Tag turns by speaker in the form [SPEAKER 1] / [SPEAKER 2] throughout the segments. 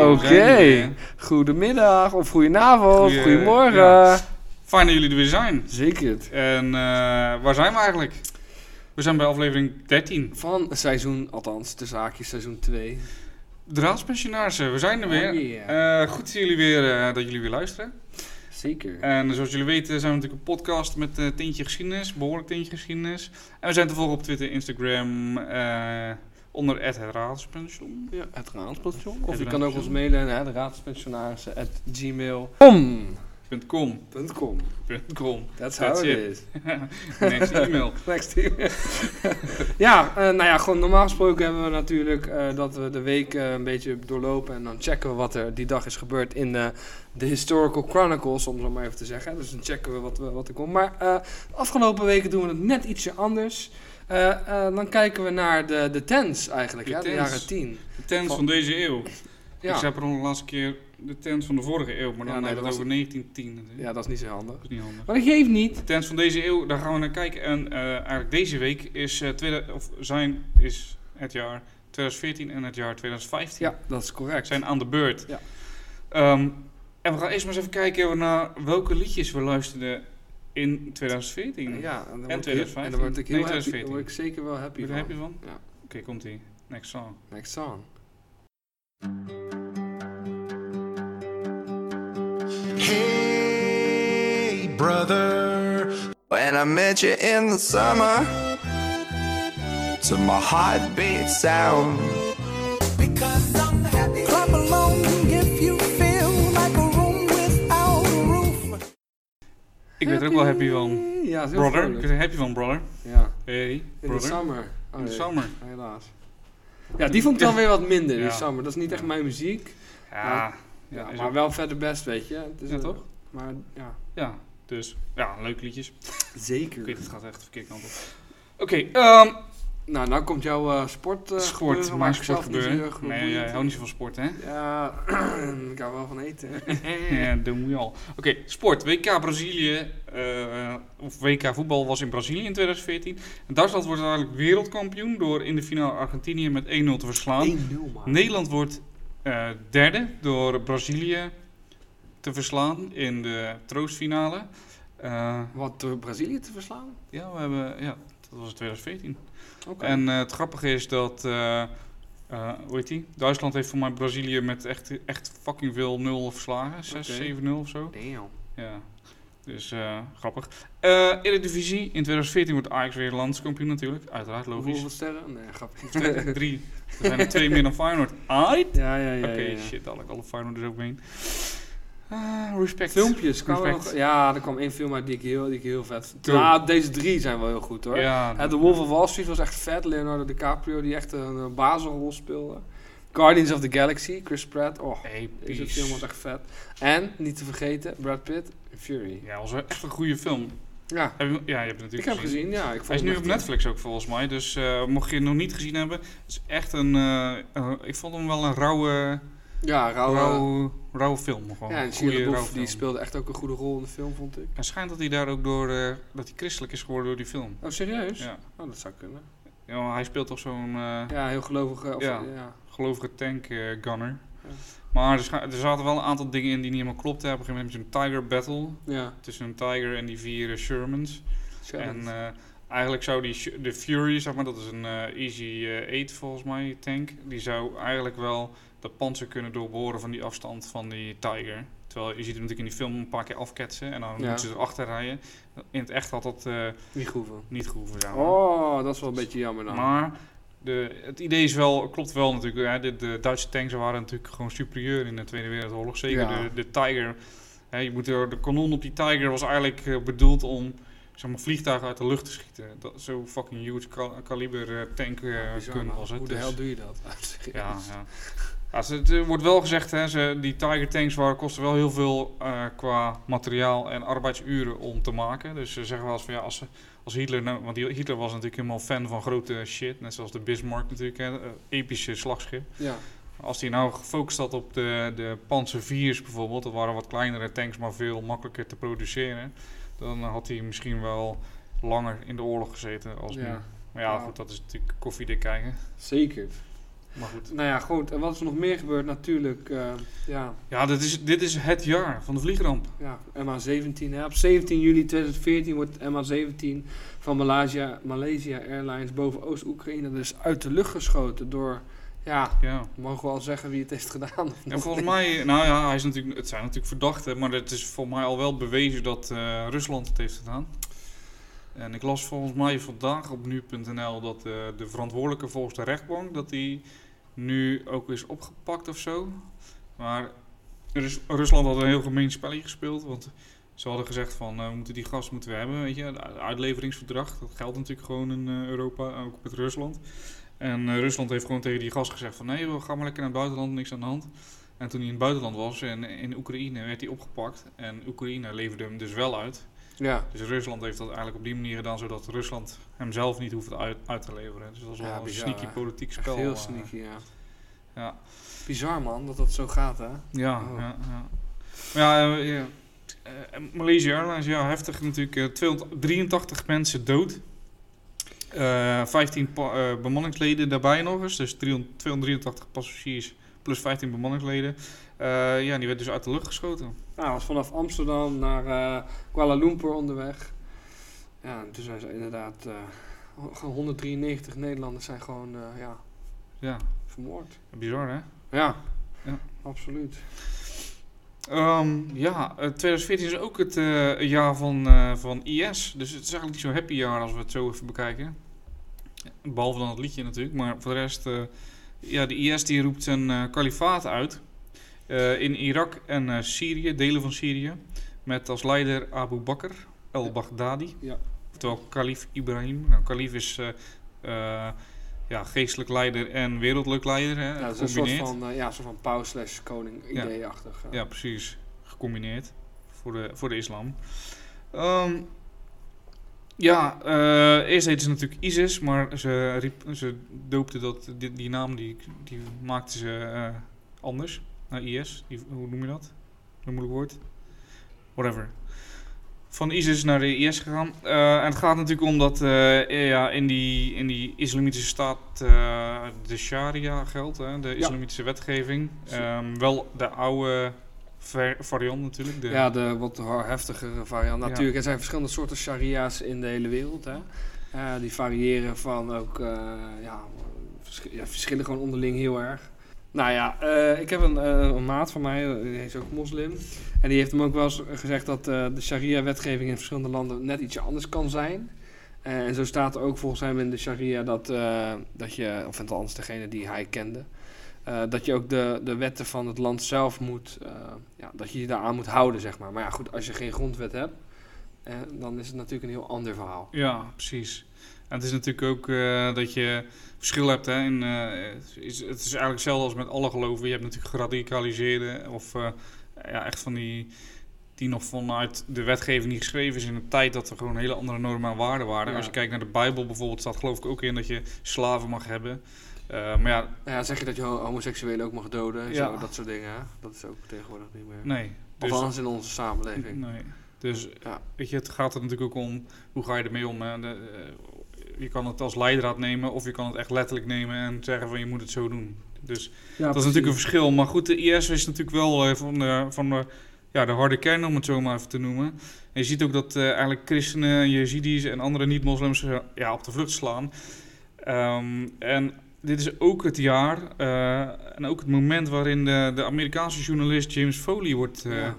[SPEAKER 1] Oké. Goedemiddag of goedenavond,
[SPEAKER 2] Goeie-
[SPEAKER 1] goedemorgen.
[SPEAKER 2] ja. Fijn dat jullie er weer zijn.
[SPEAKER 1] Zeker.
[SPEAKER 2] En eh, waar zijn we eigenlijk? We zijn bij aflevering 13.
[SPEAKER 1] Van seizoen, althans, de zaakjes seizoen 2.
[SPEAKER 2] Draadspensionarissen, we zijn er weer.
[SPEAKER 1] Oh,
[SPEAKER 2] Eh, goed dat jullie weer, eh, dat jullie weer luisteren.
[SPEAKER 1] Zeker.
[SPEAKER 2] En zoals jullie weten zijn we natuurlijk een podcast met eh tintje geschiedenis, behoorlijk tintje geschiedenis. En we zijn te volgen op Twitter, Instagram, eh, onder het Raadspension.
[SPEAKER 1] ja, het raadspension. Of
[SPEAKER 2] Het
[SPEAKER 1] je kan ook
[SPEAKER 2] raadspension.
[SPEAKER 1] ons mailen naar de raadspensionarissen at
[SPEAKER 2] Punt com.
[SPEAKER 1] gmail.com.
[SPEAKER 2] Punt com.
[SPEAKER 1] That's
[SPEAKER 2] That's
[SPEAKER 1] how it
[SPEAKER 2] it.
[SPEAKER 1] is.
[SPEAKER 2] Next e-mail.
[SPEAKER 1] Next team. ja, eh, nou ja, gewoon normaal gesproken hebben we natuurlijk eh, dat we de week eh, een beetje doorlopen. En dan checken we wat er die dag is gebeurd in de, de Historical Chronicles, om zo maar even te zeggen. Dus dan checken we wat, we- wat er komt. Maar eh, de afgelopen weken doen we het net ietsje anders. Eh, eh, dan kijken we naar de, de tens eigenlijk,
[SPEAKER 2] De
[SPEAKER 1] ja, de
[SPEAKER 2] tens.
[SPEAKER 1] jaren tien.
[SPEAKER 2] De tent
[SPEAKER 1] Van-
[SPEAKER 2] van deze eeuw.
[SPEAKER 1] Ja.
[SPEAKER 2] Ik zei per ongeluk de laatste keer de tent van de vorige eeuw, maar dan
[SPEAKER 1] Ja, nee,
[SPEAKER 2] hebben we
[SPEAKER 1] dat
[SPEAKER 2] het over 1910. natuurlijk.
[SPEAKER 1] ja, dat is niet zo handig.
[SPEAKER 2] Dat is niet handig.
[SPEAKER 1] Maar dat geeft niet.
[SPEAKER 2] De tent van deze eeuw, daar gaan we naar kijken. En eh, eigenlijk deze week is, eh, tweede, of zijn, is het jaar 2014 en het jaar 2015
[SPEAKER 1] Ja, dat is correct.
[SPEAKER 2] zijn aan de beurt.
[SPEAKER 1] Ja.
[SPEAKER 2] Ehm, en we gaan eerst maar eens even kijken naar welke liedjes we luisterden in 2014.
[SPEAKER 1] ja, en dan
[SPEAKER 2] En
[SPEAKER 1] word ik heel-
[SPEAKER 2] 2015.
[SPEAKER 1] En dan word ik heel
[SPEAKER 2] Nee,
[SPEAKER 1] happy.
[SPEAKER 2] 2014.
[SPEAKER 1] Daar word ik zeker wel happy
[SPEAKER 2] Word je
[SPEAKER 1] van.
[SPEAKER 2] er happy van?
[SPEAKER 1] Ja.
[SPEAKER 2] Oké, komt ie. Next song.
[SPEAKER 1] Next song.
[SPEAKER 3] Hey, brother. When I met you in the summer, to my heartbeat sound.
[SPEAKER 4] Because I'm happy. Clap along if you feel like a room without a roof.
[SPEAKER 2] Ik werd er ook wel happy van.
[SPEAKER 1] Ja, is heel
[SPEAKER 2] Brother. Ik
[SPEAKER 1] vrolijk.
[SPEAKER 2] werd er happy van, brother.
[SPEAKER 1] Ja,
[SPEAKER 2] Hey,
[SPEAKER 1] in
[SPEAKER 2] brother.
[SPEAKER 1] de summer. Oh,
[SPEAKER 2] In de
[SPEAKER 1] nee,
[SPEAKER 2] summer.
[SPEAKER 1] Helaas. Ja, die vond ik dan weer wat minder, in
[SPEAKER 2] Ja.
[SPEAKER 1] de summer. Dat is niet echt mijn muziek.
[SPEAKER 2] Ah, Ja,
[SPEAKER 1] Ja,
[SPEAKER 2] is
[SPEAKER 1] maar
[SPEAKER 2] ook-
[SPEAKER 1] wel verder best, weet je. Het is
[SPEAKER 2] Ja,
[SPEAKER 1] een-
[SPEAKER 2] toch?
[SPEAKER 1] Maar ja.
[SPEAKER 2] ja, dus ja, leuke liedjes. Ik weet,
[SPEAKER 1] Zeker.
[SPEAKER 2] het gaat echt de verkeerde kant op. Oké, ehm
[SPEAKER 1] Nou, nou komt jouw eh, sport. eh, gebeuren,
[SPEAKER 2] sport,
[SPEAKER 1] waar
[SPEAKER 2] maar
[SPEAKER 1] ik zelf
[SPEAKER 2] sport gebeuren.
[SPEAKER 1] niet heel erg van
[SPEAKER 2] nee,
[SPEAKER 1] boeiend
[SPEAKER 2] jij
[SPEAKER 1] vind.
[SPEAKER 2] houdt niet zo van sport, hè?
[SPEAKER 1] Ja, ik hou wel van eten.
[SPEAKER 2] Ja, dat moet je al. Oké, sport. WK Brazilië, eh, of WK voetbal was in Brazilië in 2014. En Duitsland wordt eigenlijk wereldkampioen door in de finale Argentinië met 1-0 te verslaan.
[SPEAKER 1] 1-0 man.
[SPEAKER 2] Nederland wordt eh, derde door Brazilië te verslaan in de troostfinale. Eh,
[SPEAKER 1] Wat, door Brazilië te verslaan?
[SPEAKER 2] ja, we hebben, ja, dat was in 2014.
[SPEAKER 1] Oké.
[SPEAKER 2] En eh, het grappige is dat, eh, eh, hoe heet die? Duitsland heeft voor mij Brazilië met echt, echt fucking veel 0 verslagen. 6,
[SPEAKER 1] Oké.
[SPEAKER 2] 7-0 of zo.
[SPEAKER 1] Damn.
[SPEAKER 2] Ja, dus eh, grappig. Eh Eredivisie, in 2014 wordt Ajax weer landskampioen natuurlijk. Uiteraard, logisch.
[SPEAKER 1] Hoeveel sterren? Nee, grappig.
[SPEAKER 2] Twee- Drie. Er zijn er twee meer dan Feyenoord. Ai!
[SPEAKER 1] ja, ja, ja.
[SPEAKER 2] Oké,
[SPEAKER 1] ja, ja.
[SPEAKER 2] shit, dadelijk alle Feyenoorders ook mee. Ah, respect.
[SPEAKER 1] Filmpjes kwamen
[SPEAKER 2] Respect.
[SPEAKER 1] nog. Ja, er kwam één film uit die ik heel, die ik heel vet vond.
[SPEAKER 2] True.
[SPEAKER 1] Ja, deze drie zijn wel heel goed hoor.
[SPEAKER 2] Ja,
[SPEAKER 1] Eh, The Wolf of Wall Street was echt vet. Leonardo DiCaprio die echt een, eh, basisrol speelde. Guardians of the Galaxy, Chris Pratt. Oh, deze
[SPEAKER 2] episch.
[SPEAKER 1] film was echt vet. En, niet te vergeten, Brad Pitt, Fury.
[SPEAKER 2] Ja, was echt een goede film.
[SPEAKER 1] Ja,
[SPEAKER 2] Heb je, ja, je hebt het natuurlijk
[SPEAKER 1] ik heb hem gezien. Ja, ik vond
[SPEAKER 2] Hij is
[SPEAKER 1] hem
[SPEAKER 2] nu
[SPEAKER 1] echt-
[SPEAKER 2] op Netflix ook volgens mij, dus eh, mocht je het nog niet gezien hebben, het is echt een, eh, eh, ik vond hem wel een rauwe,
[SPEAKER 1] Ja, Raoul.
[SPEAKER 2] rauwe, rauwe film gewoon.
[SPEAKER 1] ja, en
[SPEAKER 2] Goeie
[SPEAKER 1] Shia LaBeouf,
[SPEAKER 2] rauwe
[SPEAKER 1] die
[SPEAKER 2] film.
[SPEAKER 1] speelde echt ook een goede rol in de film, vond ik.
[SPEAKER 2] En schijnt dat hij daar ook door, eh, dat hij christelijk is geworden door die film.
[SPEAKER 1] Oh, serieus?
[SPEAKER 2] Ja,
[SPEAKER 1] Oh, dat zou kunnen.
[SPEAKER 2] ja maar hij speelt toch zo'n eh,
[SPEAKER 1] Ja, heel gelovig. eh, Of, ja.
[SPEAKER 2] Ja. gelovige tank eh, gunner. Maar er, scha- er zaten wel een aantal dingen in die niet helemaal klopten. Op een gegeven moment heb je zo'n tiger battle
[SPEAKER 1] Ja.
[SPEAKER 2] tussen een tiger en die vier eh, Shermans. En
[SPEAKER 1] En,
[SPEAKER 2] eh, eigenlijk zou die Sh- de Fury, zeg maar, dat is een eh, Easy 8 volgens mij, tank. Die zou eigenlijk wel dat panzer kunnen doorboren van die afstand van die Tiger. Terwijl je ziet hem natuurlijk in die film een paar keer afketsen en dan
[SPEAKER 1] Ja.
[SPEAKER 2] moeten ze erachter rijden. In het echt had dat eh,
[SPEAKER 1] Wie groeven?
[SPEAKER 2] niet gehoeven. zeg maar.
[SPEAKER 1] Oh, dat is wel een beetje jammer dan.
[SPEAKER 2] Maar de, het idee is wel, klopt wel natuurlijk. Hè, de, de Duitse tanks waren natuurlijk gewoon superieur in de Tweede Wereldoorlog. Zeker
[SPEAKER 1] Ja.
[SPEAKER 2] de, de Tiger. Hè, je moet er, de kanon op die Tiger was eigenlijk eh, bedoeld om zeg maar, vliegtuigen uit de lucht te schieten. Dat, zo fucking huge kal- kaliber eh, tank eh,
[SPEAKER 1] Bizar,
[SPEAKER 2] gun
[SPEAKER 1] man.
[SPEAKER 2] was het.
[SPEAKER 1] Hoe de
[SPEAKER 2] Dus-
[SPEAKER 1] hel doe je dat?
[SPEAKER 2] ja, ja. Ja, ze- het eh, wordt wel gezegd, hè, ze, die Tiger tanks waren, kosten wel heel veel eh, qua materiaal en arbeidsuren om te maken. Dus ze zeggen wel eens van ja, als, ze- als Hitler, nou, want die- Hitler was natuurlijk helemaal fan van grote shit, net zoals de Bismarck natuurlijk, hè, eh, epische slagschip.
[SPEAKER 1] Ja.
[SPEAKER 2] Als hij nou gefocust had op de, de Panzer 4's bijvoorbeeld, dat waren wat kleinere tanks, maar veel makkelijker te produceren, dan had hij misschien wel langer in de oorlog gezeten als nu.
[SPEAKER 1] Ja.
[SPEAKER 2] Maar ja,
[SPEAKER 1] Ja.
[SPEAKER 2] goed, dat is natuurlijk koffiedik kijken.
[SPEAKER 1] Zeker.
[SPEAKER 2] Maar goed.
[SPEAKER 1] Nou ja, goed. En wat is er nog meer gebeurd? Natuurlijk, eh, ja,
[SPEAKER 2] Ja, dit is, dit is het jaar van de vliegramp.
[SPEAKER 1] ja, MH17. Hè. Op 17 juli 2014 wordt MH17 van Malaysia, Malaysia Airlines boven Oost-Oekraïne dus uit de lucht geschoten door, ja,
[SPEAKER 2] Ja.
[SPEAKER 1] mogen we al zeggen wie het heeft gedaan? of
[SPEAKER 2] En
[SPEAKER 1] nog
[SPEAKER 2] volgens mij, nou ja, hij is natuurlijk, het zijn natuurlijk verdachten, maar het is volgens mij al wel bewezen dat eh, Rusland het heeft gedaan. En ik las volgens mij vandaag op nu.nl dat eh, de verantwoordelijke volgens de rechtbank, dat die nu ook is opgepakt of zo. Maar Rus- Rusland had een heel gemeen spelletje gespeeld, want ze hadden gezegd van, eh, we moeten die gast moeten we hebben, weet je. Het uitleveringsverdrag, dat geldt natuurlijk gewoon in eh, Europa, ook met Rusland. En eh, Rusland heeft gewoon tegen die gast gezegd van, nee, we gaan maar lekker naar het buitenland, niks aan de hand. En toen hij in het buitenland was, en in Oekraïne, werd hij opgepakt. En Oekraïne leverde hem dus wel uit.
[SPEAKER 1] Ja.
[SPEAKER 2] Dus Rusland heeft dat eigenlijk op die manier gedaan, zodat Rusland hem zelf niet hoeft uit, uit te leveren. Dus dat is wel
[SPEAKER 1] Ja,
[SPEAKER 2] een
[SPEAKER 1] bizar,
[SPEAKER 2] sneaky
[SPEAKER 1] hè?
[SPEAKER 2] politiek
[SPEAKER 1] Echt
[SPEAKER 2] spel.
[SPEAKER 1] heel
[SPEAKER 2] eh.
[SPEAKER 1] sneaky, ja.
[SPEAKER 2] ja.
[SPEAKER 1] Bizar man, dat dat zo gaat hè.
[SPEAKER 2] Ja,
[SPEAKER 1] Oh.
[SPEAKER 2] ja, ja. Maar ja, eh, ja. Eh, Malaysia Airlines, ja, heftig natuurlijk. eh, 283 mensen dood. Eh 15 pa- eh, bemanningsleden daarbij nog eens. Dus 300 283 passagiers plus 15 bemanningsleden. Eh, ja, die werd dus uit de lucht geschoten.
[SPEAKER 1] Nou, hij was vanaf Amsterdam naar eh, Kuala Lumpur onderweg. Ja, en toen zijn ze inderdaad, eh, ho- gewoon 193 Nederlanders zijn gewoon, eh, ja,
[SPEAKER 2] Ja,
[SPEAKER 1] vermoord.
[SPEAKER 2] bizar hè?
[SPEAKER 1] Ja,
[SPEAKER 2] Ja.
[SPEAKER 1] absoluut.
[SPEAKER 2] Ehm, ja, eh, 2014 is ook het eh, jaar van, eh, van IS. Dus het is eigenlijk niet zo'n happy jaar als we het zo even bekijken. Behalve dan het liedje natuurlijk. Maar voor de rest, eh, ja, de IS die roept zijn eh, kalifaat uit. eh, in Irak en eh, Syrië, delen van Syrië. Met als leider Abu Bakr el-Baghdadi.
[SPEAKER 1] Ja.
[SPEAKER 2] Oftewel kalif Ibrahim. Nou, kalif is eh, eh, ja, geestelijk leider en wereldlijk leider. Hè,
[SPEAKER 1] Ja, dat is een soort
[SPEAKER 2] gecombineerd.
[SPEAKER 1] van, eh, ja, soort van pauw slash koning
[SPEAKER 2] Ja.
[SPEAKER 1] idee-achtig.
[SPEAKER 2] Ja, precies. Gecombineerd voor de, voor de islam. Ehm, ja, eh, eerst heette ze natuurlijk ISIS, maar ze, riep, ze doopte dat, die, die naam die, die maakte ze eh, anders naar IS. Die, hoe noem je dat? Een moeilijk woord. Whatever. Van ISIS naar de IS gegaan. Eh, en het gaat natuurlijk om dat eh, ja, in, die, in die islamitische staat eh, de sharia geldt, hè, de islamitische wetgeving. Ehm, wel de oude ver- variant natuurlijk. De,
[SPEAKER 1] Ja, de wat har- heftigere variant.
[SPEAKER 2] Ja.
[SPEAKER 1] Natuurlijk, er zijn verschillende soorten sharia's in de hele wereld. Hè. Eh, die variëren van ook, eh, ja, versch- ja, verschillen gewoon onderling heel erg. Nou ja, eh, ik heb een, eh, een maat van mij, eh, die is ook moslim. En die heeft hem ook wel eens gezegd dat eh, de sharia-wetgeving in verschillende landen net ietsje anders kan zijn. Eh, en zo staat er ook volgens hem in de sharia dat, eh, dat je, of althans degene die hij kende, eh, dat je ook de, de wetten van het land zelf moet, eh, ja, dat je je daaraan moet houden, zeg maar. Maar ja, goed, als je geen grondwet hebt, eh, dan is het natuurlijk een heel ander verhaal.
[SPEAKER 2] Ja, precies. En het is natuurlijk ook eh, dat je verschil hebt. Hè, in, eh, het, is, het is eigenlijk hetzelfde als met alle geloven. Je hebt natuurlijk geradicaliseerde of eh, ja, echt van die die nog vanuit de wetgeving niet geschreven is in een tijd dat er gewoon hele andere normen en waarden waren.
[SPEAKER 1] Ja.
[SPEAKER 2] Als je kijkt naar de Bijbel bijvoorbeeld, staat geloof ik ook in dat je slaven mag hebben. Eh, maar ja,
[SPEAKER 1] Nou ja, zeg je dat je ho- homoseksuelen ook mag doden en
[SPEAKER 2] Ja. Nou, dus-
[SPEAKER 1] zo, dat soort dingen, hè? Dat is ook tegenwoordig niet meer.
[SPEAKER 2] nee.
[SPEAKER 1] Of anders in onze samenleving.
[SPEAKER 2] Nee. Dus
[SPEAKER 1] Ja.
[SPEAKER 2] weet je, het gaat er natuurlijk ook om hoe ga je ermee om. Hè? De, eh, je kan het als leidraad nemen of je kan het echt letterlijk nemen en zeggen van je moet het zo doen. Dus dat is natuurlijk een verschil. Maar goed, de IS is natuurlijk wel eh, van, de, van de, ja, de harde kern, om het zo maar even te noemen. En je ziet ook dat eh, eigenlijk christenen, jezidis en andere niet-moslims eh, ja, op de vlucht slaan. Ehm, en dit is ook het jaar eh, en ook het moment waarin de, de Amerikaanse journalist James Foley wordt, eh,
[SPEAKER 1] Ja.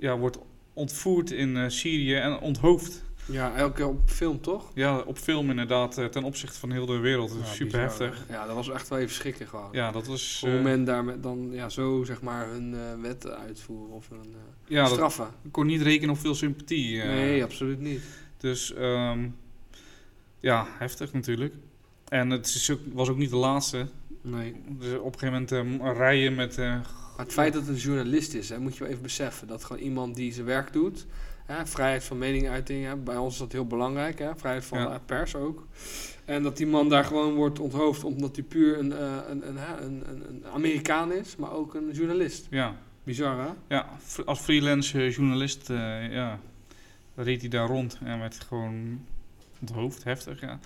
[SPEAKER 2] ja. wordt ontvoerd in eh, Syrië en onthoofd.
[SPEAKER 1] Ja, elke keer op film, toch?
[SPEAKER 2] Ja, op film inderdaad, eh, ten opzichte van heel de wereld.
[SPEAKER 1] Ja,
[SPEAKER 2] super
[SPEAKER 1] bizar,
[SPEAKER 2] heftig.
[SPEAKER 1] hè. Ja, dat was echt wel even schrikken gewoon.
[SPEAKER 2] Ja, dat was...
[SPEAKER 1] Hoe
[SPEAKER 2] eh,
[SPEAKER 1] men daar met dan ja, zo zeg maar hun eh, wetten uitvoeren of hun eh,
[SPEAKER 2] ja, dat
[SPEAKER 1] straffen.
[SPEAKER 2] kon niet rekenen op veel sympathie. eh.
[SPEAKER 1] Nee, absoluut niet.
[SPEAKER 2] Dus ehm, ja, heftig natuurlijk. En het is ook, was ook niet de laatste.
[SPEAKER 1] Nee.
[SPEAKER 2] Dus op een gegeven moment eh, rijden met... eh,
[SPEAKER 1] Maar het feit dat het een journalist is, hè, moet je wel even beseffen. Dat gewoon iemand die zijn werk doet. Hè, vrijheid van meningsuiting, hè, bij ons is dat heel belangrijk. Hè, vrijheid van
[SPEAKER 2] Ja.
[SPEAKER 1] eh, pers ook. En dat die man daar gewoon wordt onthoofd omdat hij puur een, eh, een, een, hè, een, een, een Amerikaan is, maar ook een journalist.
[SPEAKER 2] ja,
[SPEAKER 1] Bizar, hè?
[SPEAKER 2] ja, fr- als freelance eh, journalist eh, ja, reed hij daar rond en werd gewoon onthoofd. Heftig, ja.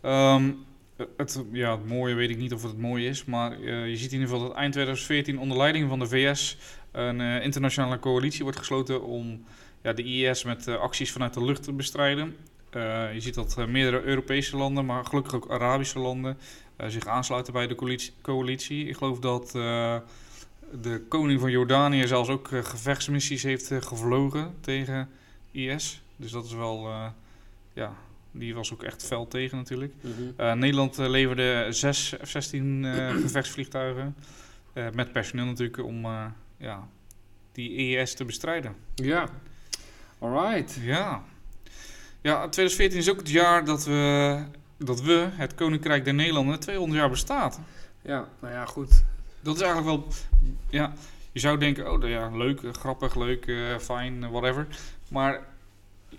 [SPEAKER 2] Ehm, eh, het, ja, het mooie weet ik niet of het het mooie is, maar eh, je ziet in ieder geval dat eind 2014 onder leiding van de VS een eh, internationale coalitie wordt gesloten om ja, de IS met eh, acties vanuit de lucht te bestrijden. Eh, je ziet dat eh, meerdere Europese landen, maar gelukkig ook Arabische landen, eh, zich aansluiten bij de coalitie. coalitie. Ik geloof dat eh, de koning van Jordanië zelfs ook eh, gevechtsmissies heeft eh, gevlogen tegen IS. Dus dat is wel, eh, ja, die was ook echt fel tegen natuurlijk. Eh, Nederland eh, leverde zes F-16 eh, gevechtsvliegtuigen. eh, met personeel natuurlijk om eh, ja, die EES te bestrijden.
[SPEAKER 1] Ja. Alright.
[SPEAKER 2] Ja. ja, 2014 is ook het jaar dat we, dat we, het Koninkrijk der Nederlanden, 200 jaar bestaat.
[SPEAKER 1] Ja, nou ja, goed.
[SPEAKER 2] Dat is eigenlijk wel... Ja, je zou denken, oh ja, leuk, eh, grappig, leuk, eh, fijn, eh, whatever. Maar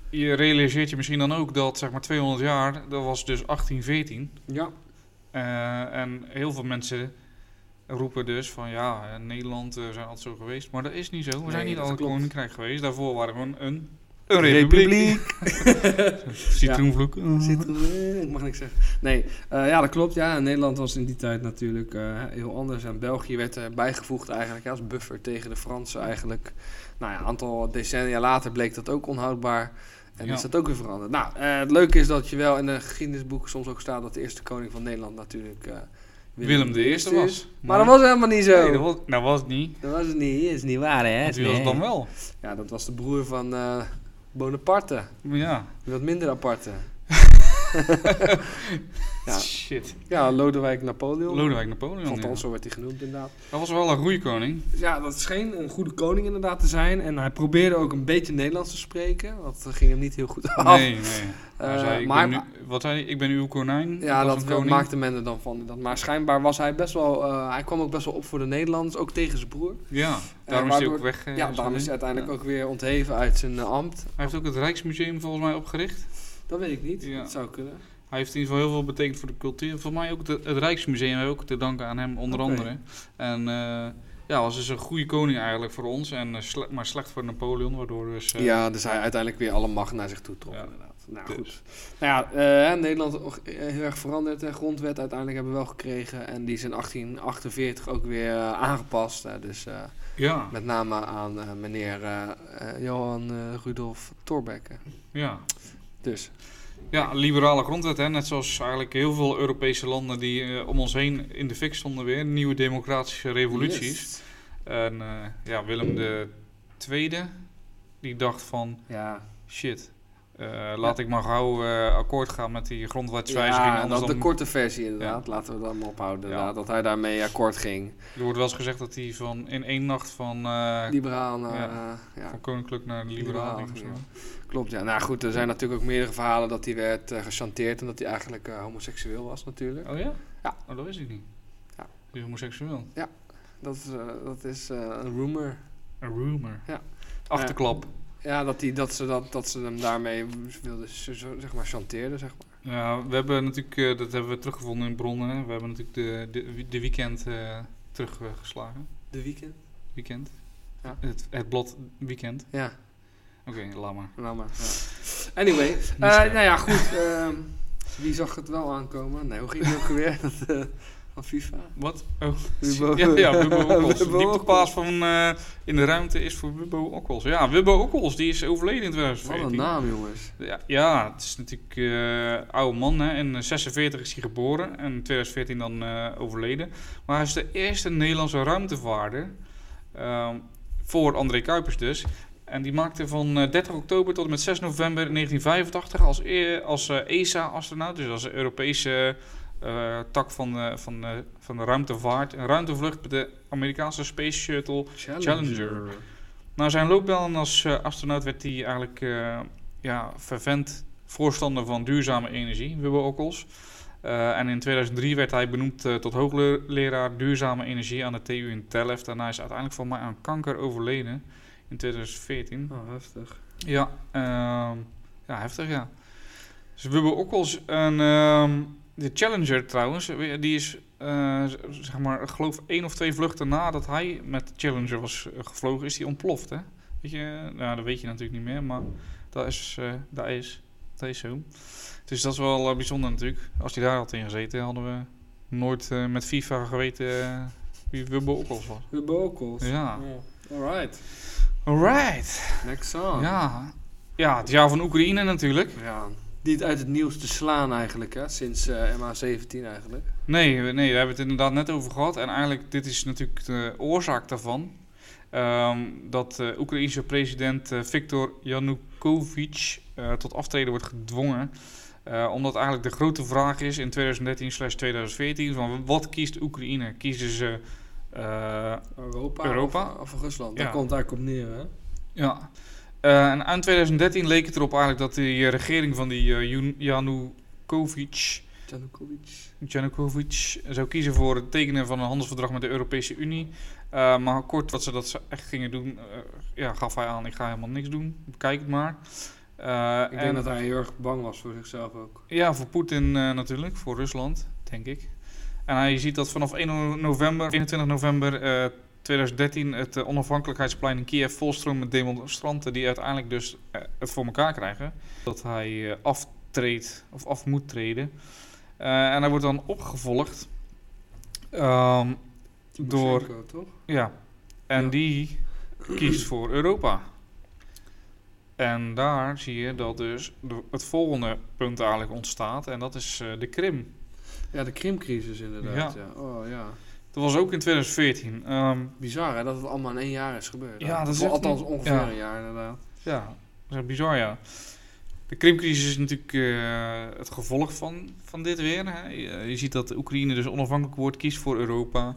[SPEAKER 2] je realiseert je misschien dan ook dat zeg maar 200 jaar, dat was dus 1814.
[SPEAKER 1] Ja.
[SPEAKER 2] Eh, en heel veel mensen roepen dus van ja, eh, Nederland eh, zijn altijd zo geweest. Maar dat is niet zo. We
[SPEAKER 1] Nee,
[SPEAKER 2] zijn niet
[SPEAKER 1] dat
[SPEAKER 2] altijd
[SPEAKER 1] klopt.
[SPEAKER 2] koninkrijk geweest. Daarvoor waren we een, een, een republiek. Citroenvloek.
[SPEAKER 1] Zit er, eh, ik mag niks zeggen. Nee, eh, ja, dat klopt. Ja, Nederland was in die tijd natuurlijk eh, heel anders. En België werd er bijgevoegd eigenlijk ja, als buffer tegen de Fransen eigenlijk. Nou ja, een aantal decennia later bleek dat ook onhoudbaar. En
[SPEAKER 2] Ja.
[SPEAKER 1] is dat ook weer veranderd. Nou, eh, het leuke is dat je wel in de geschiedenisboeken soms ook staat dat de eerste koning van Nederland natuurlijk eh,
[SPEAKER 2] Willem de Eerste was.
[SPEAKER 1] is. Maar dat was helemaal niet zo. Eh,
[SPEAKER 2] Nee, dat was, nou, was het niet.
[SPEAKER 1] Dat was het niet, is niet waar hè?
[SPEAKER 2] Want wie was het dan wel?
[SPEAKER 1] Ja, dat was de broer van eh, Bonaparte.
[SPEAKER 2] Ja.
[SPEAKER 1] Die Wat minder aparte. Ja.
[SPEAKER 2] Shit.
[SPEAKER 1] Ja, Lodewijk Napoleon.
[SPEAKER 2] Lodewijk Napoleon. ja.
[SPEAKER 1] Althans, zo werd hij genoemd inderdaad.
[SPEAKER 2] Dat was wel een roeikoning.
[SPEAKER 1] Ja, dat scheen een goede koning inderdaad te zijn. En hij probeerde ook een beetje Nederlands te spreken. Dat ging hem niet heel goed af.
[SPEAKER 2] Nee, nee. Hij
[SPEAKER 1] Ah. Eh,
[SPEAKER 2] zei, ik
[SPEAKER 1] maar-
[SPEAKER 2] ben nu- wat zei hij? Ik ben uw konijn.
[SPEAKER 1] Ja,
[SPEAKER 2] was
[SPEAKER 1] dat
[SPEAKER 2] een
[SPEAKER 1] wel-
[SPEAKER 2] koning.
[SPEAKER 1] maakte men er dan van. Dat. Maar schijnbaar was hij best wel... eh, hij kwam ook best wel op voor de Nederlanders. Ook tegen zijn broer.
[SPEAKER 2] Ja, daarom is hij ook
[SPEAKER 1] waardoor-
[SPEAKER 2] weg. eh,
[SPEAKER 1] ja, daarom is hij uiteindelijk ook weer ontheven uit zijn eh, ambt.
[SPEAKER 2] Hij heeft ook het Rijksmuseum volgens mij opgericht.
[SPEAKER 1] Dat weet ik niet.
[SPEAKER 2] Ja.
[SPEAKER 1] Dat zou kunnen.
[SPEAKER 2] Hij heeft in ieder geval heel veel betekend voor de cultuur. Voor mij ook de- het Rijksmuseum hebben we ook te danken aan hem, onder
[SPEAKER 1] Oké.
[SPEAKER 2] andere. En eh, ja, was dus een goede koning eigenlijk voor ons. En, eh, sle- maar slecht voor Napoleon, waardoor we dus... eh,
[SPEAKER 1] Ja, dus hij uiteindelijk weer alle macht naar zich toe trok,
[SPEAKER 2] Ja.
[SPEAKER 1] inderdaad. Nou
[SPEAKER 2] Dus.
[SPEAKER 1] goed. Nou ja, eh, Nederland ook, eh, heel erg veranderd. De grondwet uiteindelijk hebben we wel gekregen. En die is in 1848 ook weer eh, aangepast. Eh, dus eh,
[SPEAKER 2] ja,
[SPEAKER 1] met name aan eh, meneer eh, eh, Johan eh, Rudolf Thorbecke.
[SPEAKER 2] ja.
[SPEAKER 1] Dus,
[SPEAKER 2] Ja, liberale grondwet, hè. net zoals eigenlijk heel veel Europese landen die eh, om ons heen in de fik stonden weer. Nieuwe democratische revoluties.
[SPEAKER 1] Yes.
[SPEAKER 2] En eh, ja, Willem II, die dacht van,
[SPEAKER 1] Ja,
[SPEAKER 2] shit, eh, laat ik maar gauw eh, akkoord gaan met die grondwetswijziging.
[SPEAKER 1] ja nou,
[SPEAKER 2] anders
[SPEAKER 1] dat de
[SPEAKER 2] dan
[SPEAKER 1] korte versie inderdaad. Laten we dat maar ophouden.
[SPEAKER 2] Ja.
[SPEAKER 1] inderdaad, Dat hij daarmee akkoord ging.
[SPEAKER 2] Er wordt wel eens gezegd dat hij van in één nacht van, eh,
[SPEAKER 1] Liberaal naar...
[SPEAKER 2] Ja.
[SPEAKER 1] eh, ja.
[SPEAKER 2] van koninklijk naar liberaal
[SPEAKER 1] Liberaal,
[SPEAKER 2] ging. of zo.
[SPEAKER 1] ja. Klopt, ja. Nou goed, er zijn natuurlijk ook meerdere verhalen dat hij werd eh, gechanteerd en dat hij eigenlijk eh, homoseksueel was natuurlijk.
[SPEAKER 2] Oh ja?
[SPEAKER 1] Ja.
[SPEAKER 2] Oh, dat wist ik niet.
[SPEAKER 1] Ja.
[SPEAKER 2] Die is homoseksueel.
[SPEAKER 1] Dat is, eh, dat is eh, een rumor.
[SPEAKER 2] Een rumor.
[SPEAKER 1] Ja.
[SPEAKER 2] Achterklap.
[SPEAKER 1] Ja, dat, die, dat, ze, dat, dat ze hem daarmee wilden, z- z- zeg maar, chanteerden, zeg maar.
[SPEAKER 2] Ja, we hebben natuurlijk, eh, dat hebben we teruggevonden in bronnen. hè. We hebben natuurlijk de, de, de weekend eh, teruggeslagen.
[SPEAKER 1] De weekend?
[SPEAKER 2] Weekend.
[SPEAKER 1] Ja.
[SPEAKER 2] Het, het blad weekend.
[SPEAKER 1] Ja,
[SPEAKER 2] Oké, laat maar.
[SPEAKER 1] nou maar. ja. Anyway, eh,
[SPEAKER 2] scherp.
[SPEAKER 1] nou ja, goed. ehm, wie zag het wel aankomen? Nee, hoe ging het ook weer? Dat, eh, van FIFA?
[SPEAKER 2] Wat? Oh,
[SPEAKER 1] Wubbo.
[SPEAKER 2] ja, ja, Wubbo Okkels.
[SPEAKER 1] Wubbo
[SPEAKER 2] Die
[SPEAKER 1] Okkels.
[SPEAKER 2] paas van eh, in de ruimte is voor Wubbo Okkels. Ja, Wubbo Okkels, die is overleden in
[SPEAKER 1] Wat
[SPEAKER 2] 2014.
[SPEAKER 1] een naam, jongens.
[SPEAKER 2] Ja, ja, het is natuurlijk eh oude man. Hè. In eh, 46 is hij geboren en in 2014 dan eh, overleden. Maar hij is de eerste Nederlandse ruimtevaarder. ehm, voor André Kuipers dus. En die maakte van eh, 30 oktober tot en met 6 november 1985 als, e- als eh, ESA-astronaut, dus als Europese eh, tak van de, van, de, van de ruimtevaart, een ruimtevlucht met de Amerikaanse Space Shuttle Challenger. Na Nou, zijn loopbaan als eh, astronaut werd hij eigenlijk eh, ja, vervent voorstander van duurzame energie, Wubbo Okkels. Eh, en in 2003 werd hij benoemd eh, tot hoogleraar duurzame energie aan de TU in Delft. Daarna is hij uiteindelijk van mij aan kanker overleden in 2014.
[SPEAKER 1] Oh, heftig.
[SPEAKER 2] Ja, ehm, ja heftig ja. Dus Wubbo Okkels en ehm, de Challenger trouwens, eh, die is eh, z- zeg maar, ik geloof één of twee vluchten nadat hij met de Challenger was eh, gevlogen, is die ontploft hè. Weet je, nou dat weet je natuurlijk niet meer, maar dat is, eh, dat is. Deze zo. Dus dat is wel eh, bijzonder natuurlijk. Als hij daar had in gezeten, hadden we nooit eh, met FIFA geweten eh, wie Wubbo Okkels was.
[SPEAKER 1] De vocals.
[SPEAKER 2] Ja.
[SPEAKER 1] Alright.
[SPEAKER 2] Alright.
[SPEAKER 1] Next song.
[SPEAKER 2] Ja. Ja, het jaar van Oekraïne natuurlijk.
[SPEAKER 1] Ja, Niet uit het nieuws te slaan eigenlijk, hè? Sinds eh, MH17 eigenlijk.
[SPEAKER 2] Nee, we- nee, daar hebben we het inderdaad net over gehad. En eigenlijk, dit is natuurlijk de oorzaak daarvan. Ehm, dat de Oekraïnse president eh, Viktor Yanukovych eh, tot aftreden wordt gedwongen. Eh, omdat eigenlijk de grote vraag is in 2013-2014: van wat kiest Oekraïne? Kiezen ze. eh,
[SPEAKER 1] Europa.
[SPEAKER 2] Europa?
[SPEAKER 1] Of, of Rusland. Daar
[SPEAKER 2] Ja.
[SPEAKER 1] komt het eigenlijk op neer, hè?
[SPEAKER 2] ja. Eh, en aan 2013 leek het erop eigenlijk dat die eh, regering van die eh, Yun- Yanukovych.
[SPEAKER 1] Janukovic.
[SPEAKER 2] Janukovic zou kiezen voor het tekenen van een handelsverdrag met de Europese Unie. Eh, maar kort wat ze dat ze echt gingen doen, eh, ja, gaf hij aan: ik ga helemaal niks doen. Kijk het maar. Eh, en-
[SPEAKER 1] Ik denk dat hij heel erg bang was voor zichzelf ook.
[SPEAKER 2] ja, voor Poetin eh, natuurlijk, voor Rusland, denk ik. En hij ziet dat vanaf 1 no- november, 21 november eh, 2013 het eh, onafhankelijkheidsplein in Kiev volstroomt met demonstranten die uiteindelijk dus eh, het voor elkaar krijgen. Dat hij eh, aftreedt of af moet treden. Eh, en hij wordt dan opgevolgd ehm, door...
[SPEAKER 1] Timoshenko, toch?
[SPEAKER 2] Ja, en
[SPEAKER 1] Ja.
[SPEAKER 2] die kiest voor Europa. En daar zie je dat dus de- het volgende punt eigenlijk ontstaat. En dat is eh, de Krim.
[SPEAKER 1] Ja, de Krimcrisis inderdaad. Ja. Oh ja.
[SPEAKER 2] Dat was ook in 2014. Ehm,
[SPEAKER 1] Bizar hè, dat het allemaal in één jaar is gebeurd.
[SPEAKER 2] Ja,
[SPEAKER 1] hè?
[SPEAKER 2] dat is
[SPEAKER 1] Of
[SPEAKER 2] echt
[SPEAKER 1] Althans
[SPEAKER 2] niet-
[SPEAKER 1] ongeveer
[SPEAKER 2] ja.
[SPEAKER 1] een jaar inderdaad.
[SPEAKER 2] ja, dat is echt bizar ja. De Krimcrisis is natuurlijk eh, het gevolg van, van dit weer. Hè. Je, je ziet dat de Oekraïne dus onafhankelijk wordt, kiest voor Europa.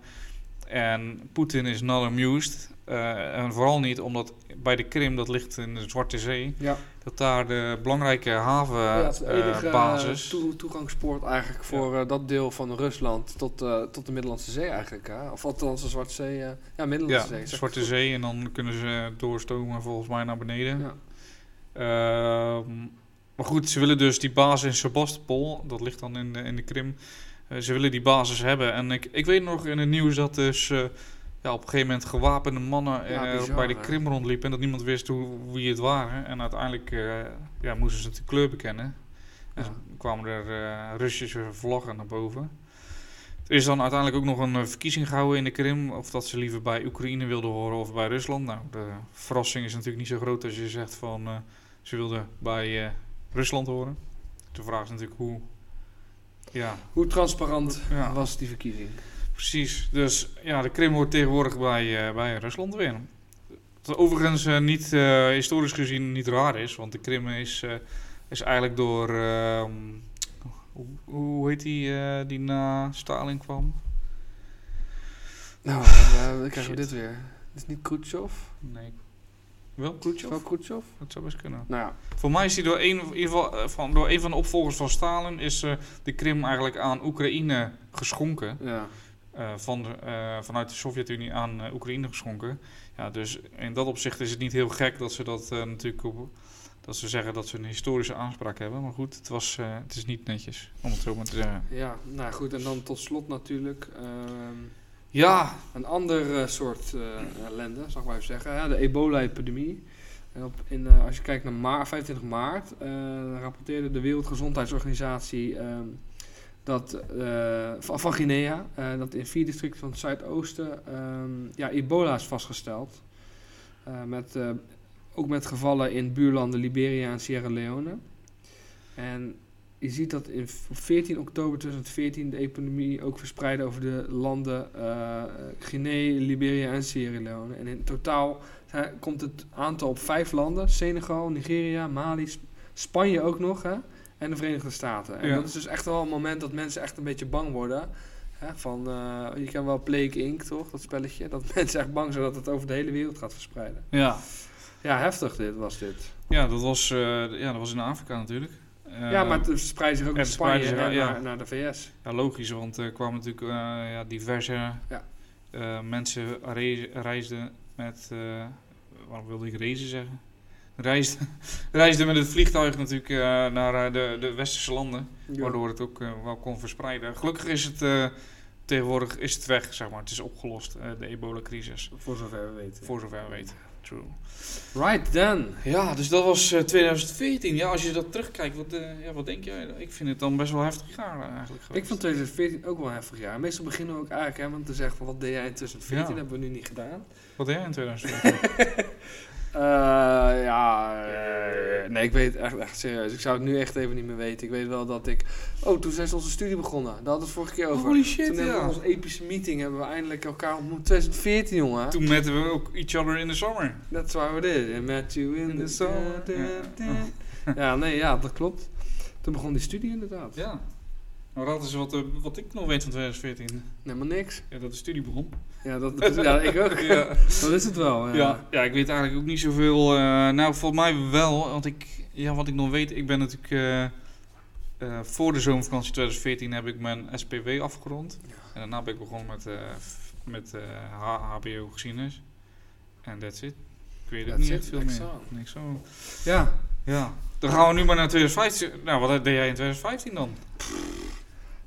[SPEAKER 2] En Poetin is not amused. Eh, en vooral niet omdat bij de Krim, dat ligt in de Zwarte Zee...
[SPEAKER 1] Ja,
[SPEAKER 2] Dat daar de belangrijke
[SPEAKER 1] ja het is de enige eh,
[SPEAKER 2] havenbasis.
[SPEAKER 1] toe- toegangspoort eigenlijk voor eh, dat deel van Rusland tot, eh, tot de Middellandse Zee eigenlijk. Hè? Of althans de Zwarte Zee. eh, ja,
[SPEAKER 2] ja,
[SPEAKER 1] Middellandse Zee. zeg
[SPEAKER 2] Zwarte
[SPEAKER 1] ik goed.
[SPEAKER 2] Zee. En dan kunnen ze doorstomen volgens mij naar beneden.
[SPEAKER 1] Ja.
[SPEAKER 2] Ehm, maar goed, ze willen dus die basis in Sebastopol. Dat ligt dan in de, in de Krim. eh, ze willen die basis hebben. En ik, ik weet nog in het nieuws dat dus... eh, ja, op een gegeven moment gewapende mannen
[SPEAKER 1] Ja,
[SPEAKER 2] eh,
[SPEAKER 1] bizar,
[SPEAKER 2] bij de
[SPEAKER 1] hè?
[SPEAKER 2] Krim rondliepen... en dat niemand wist hoe, wie het waren. En uiteindelijk eh, ja, moesten ze de kleur bekennen. En
[SPEAKER 1] Ja.
[SPEAKER 2] ze kwamen er eh, Russische vlaggen naar boven. Er is dan uiteindelijk ook nog een eh, verkiezing gehouden in de Krim. Of dat ze liever bij Oekraïne wilden horen of bij Rusland. Nou, de verrassing is natuurlijk niet zo groot als je zegt van... eh, ze wilden bij eh, Rusland horen. De vraag is natuurlijk hoe... Ja,
[SPEAKER 1] Hoe transparant
[SPEAKER 2] ja
[SPEAKER 1] was die verkiezing?
[SPEAKER 2] precies. Dus ja, de Krim hoort tegenwoordig bij, eh, bij Rusland weer. Wat overigens eh, niet, eh, historisch gezien niet raar is. Want de Krim is, eh, is eigenlijk door... ehm, hoe, hoe heet die eh, die na Stalin kwam?
[SPEAKER 1] Nou, eh, dan krijgen we
[SPEAKER 2] Shit.
[SPEAKER 1] dit weer. Dit is niet Khrushchev.
[SPEAKER 2] Nee. Wel
[SPEAKER 1] Is
[SPEAKER 2] Khrushchev?
[SPEAKER 1] wel Khrushchev?
[SPEAKER 2] Dat zou best kunnen.
[SPEAKER 1] Nou ja,
[SPEAKER 2] Voor mij is die door een, in ieder geval, eh, van, door een van de opvolgers van Stalin... is eh, de Krim eigenlijk aan Oekraïne geschonken.
[SPEAKER 1] ja.
[SPEAKER 2] eh, van, de- eh, vanuit de Sovjet-Unie aan eh, Oekraïne geschonken. Ja, dus in dat opzicht is het niet heel gek dat ze dat eh, natuurlijk op, dat ze zeggen dat ze een historische aanspraak hebben. Maar goed, het, was, eh, het is niet netjes, om het zo maar te zeggen.
[SPEAKER 1] ja, nou goed. En dan tot slot natuurlijk... ehm,
[SPEAKER 2] Ja,
[SPEAKER 1] Een ander eh, soort eh, ellende, zou ik maar even zeggen. Hè? De ebola-epidemie. En op, in, eh, als je kijkt naar ma- 25 maart, eh, rapporteerde de Wereldgezondheidsorganisatie ehm, dat, eh, van, van Guinea eh, dat in vier districten van het Zuidoosten ehm, ja, ebola is vastgesteld. Eh, met, eh, ook met gevallen in buurlanden Liberia en Sierra Leone. En je ziet dat in v- op 14 oktober 2014 de epidemie ook verspreidde over de landen eh, Guinea, Liberia en Sierra Leone. En in totaal zijn- komt het aantal op vijf landen: Senegal, Nigeria, Mali, Sp- Spanje ook nog hè? en de Verenigde Staten. En
[SPEAKER 2] Ja.
[SPEAKER 1] dat is dus echt wel een moment dat mensen echt een beetje bang worden. Hè? Van, eh, je kent wel Plague Inc., toch? Dat spelletje. Dat mensen echt bang zijn dat het over de hele wereld gaat verspreiden.
[SPEAKER 2] ja.
[SPEAKER 1] Ja, heftig dit was dit.
[SPEAKER 2] ja, dat was, eh, ja, dat was in Afrika natuurlijk. Eh,
[SPEAKER 1] ja, maar het verspreidt zich ook
[SPEAKER 2] het
[SPEAKER 1] naar Spanje
[SPEAKER 2] verspreidt zich,
[SPEAKER 1] en
[SPEAKER 2] ja.
[SPEAKER 1] naar, naar de VS.
[SPEAKER 2] ja, logisch, want er kwamen natuurlijk eh, ja, diverse
[SPEAKER 1] Ja.
[SPEAKER 2] eh, mensen re- reisden met... eh, waarom wilde ik reizen zeggen? Reisden, reisden met het vliegtuig natuurlijk eh, naar eh, de, de westerse landen.
[SPEAKER 1] Ja.
[SPEAKER 2] Waardoor het ook eh, wel kon verspreiden. Gelukkig is het eh, tegenwoordig is het weg, zeg maar. Het is opgelost, eh, de ebola-crisis.
[SPEAKER 1] Voor zover we weten.
[SPEAKER 2] Voor zover we weten. True.
[SPEAKER 1] Right then.
[SPEAKER 2] Ja, dus dat was eh, 2014. Ja, als je dat terugkijkt, wat, eh, ja, wat denk jij? Ik vind het dan best wel heftig jaar eh, eigenlijk.
[SPEAKER 1] Ik
[SPEAKER 2] geweest.
[SPEAKER 1] vond 2014 ook wel een heftig jaar. Meestal beginnen we ook eigenlijk hè, want te zeggen van wat deed jij in 2014,
[SPEAKER 2] Ja.
[SPEAKER 1] hebben we nu niet gedaan.
[SPEAKER 2] Wat deed jij in 2014?
[SPEAKER 1] Eh, ja, eh, nee, ik weet het echt, echt serieus. Ik zou het nu echt even niet meer weten. Ik weet wel dat ik... Oh, toen zijn ze onze studie begonnen. Daar hadden we het vorige keer over.
[SPEAKER 2] Holy shit,
[SPEAKER 1] toen hebben we
[SPEAKER 2] ja.
[SPEAKER 1] onze epische meeting, hebben we eindelijk elkaar ontmoet. 2014, jongen.
[SPEAKER 2] Toen metten we ook Each Other in the Summer.
[SPEAKER 1] That's why we did it. Met you in,
[SPEAKER 2] In
[SPEAKER 1] the
[SPEAKER 2] the
[SPEAKER 1] summer.
[SPEAKER 2] summer.
[SPEAKER 1] Ja, nee, ja, dat klopt. Toen begon die studie inderdaad.
[SPEAKER 2] Ja. Nou, dat is wat, eh, wat ik nog weet van 2014.
[SPEAKER 1] Helemaal niks.
[SPEAKER 2] Ja, dat de studie begon.
[SPEAKER 1] Ja, dat, ja ik ook.
[SPEAKER 2] Ja.
[SPEAKER 1] Dat is het wel. Ja.
[SPEAKER 2] Ja, ja, ik weet eigenlijk ook niet zoveel. eh, nou, volgens mij wel. Want ik, ja, wat ik nog weet, ik ben natuurlijk. eh, eh, voor de zomervakantie 2014 heb ik mijn SPW afgerond.
[SPEAKER 1] Ja.
[SPEAKER 2] En daarna ben ik begonnen met, eh, f- met eh, H- HBO geschiedenis. En that's it. Ik weet ook
[SPEAKER 1] That's
[SPEAKER 2] niet
[SPEAKER 1] it,
[SPEAKER 2] echt veel
[SPEAKER 1] niks
[SPEAKER 2] meer.
[SPEAKER 1] aan.
[SPEAKER 2] Niks zo.
[SPEAKER 1] Ja.
[SPEAKER 2] Ja. Dan gaan we nu maar naar 2015. Nou, wat deed jij in 2015 dan?